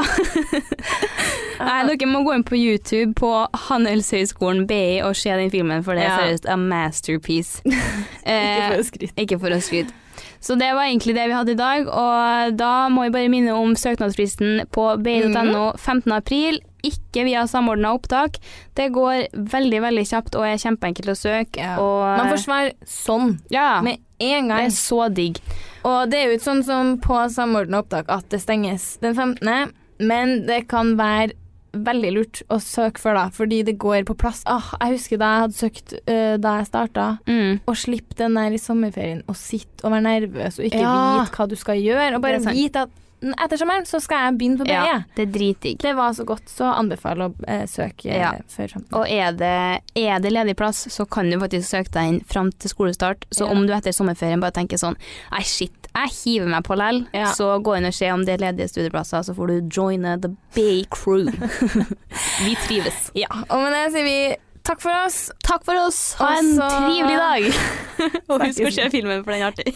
Nei, dere må gå inn på YouTube på Handelshøyskolen BI og se den filmen, for det er Ja. seriøst a masterpiece. Ikke Eh, for å skryte. ikke for å skryte. Så det var egentlig det vi hadde i dag, og da må vi bare minne om søknadsfristen på bi.no Mhm. 15. april. Ikke via samordna opptak. Det går veldig veldig kjapt og er kjempeenkelt å søke. Ja. Og Man får svar sånn ja, med en det gang. er så digg. Og det er jo ikke sånn som på samordna opptak at det stenges den 15., men det kan være veldig lurt å søke før da, fordi det går på plass. Ah, jeg husker da jeg hadde søkt øh, da jeg starta, Mm. å slippe den der i sommerferien og sitte og være nervøs og ikke Ja. vite hva du skal gjøre, og bare Det er sant. vite at "N- etter sommeren så skal jeg begynne på BE. Ja, det er dritdigg. Det var så godt, så anbefaler å eh, søke eh, Ja. før sommeren. Og er det, er det ledig plass, så kan du faktisk søke deg inn fram til skolestart. Så Ja. om du etter sommerferien bare tenker sånn Nei, shit, jeg hiver meg på lell, Ja. så gå inn og se om det er ledige studieplasser, så får du joine the Bay Crew. vi trives. Ja, og med det sier vi takk for oss. Takk for oss. Ha en Og så- trivelig dag. og husk å Snakkes. se filmen, for den er artig.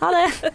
Ha det.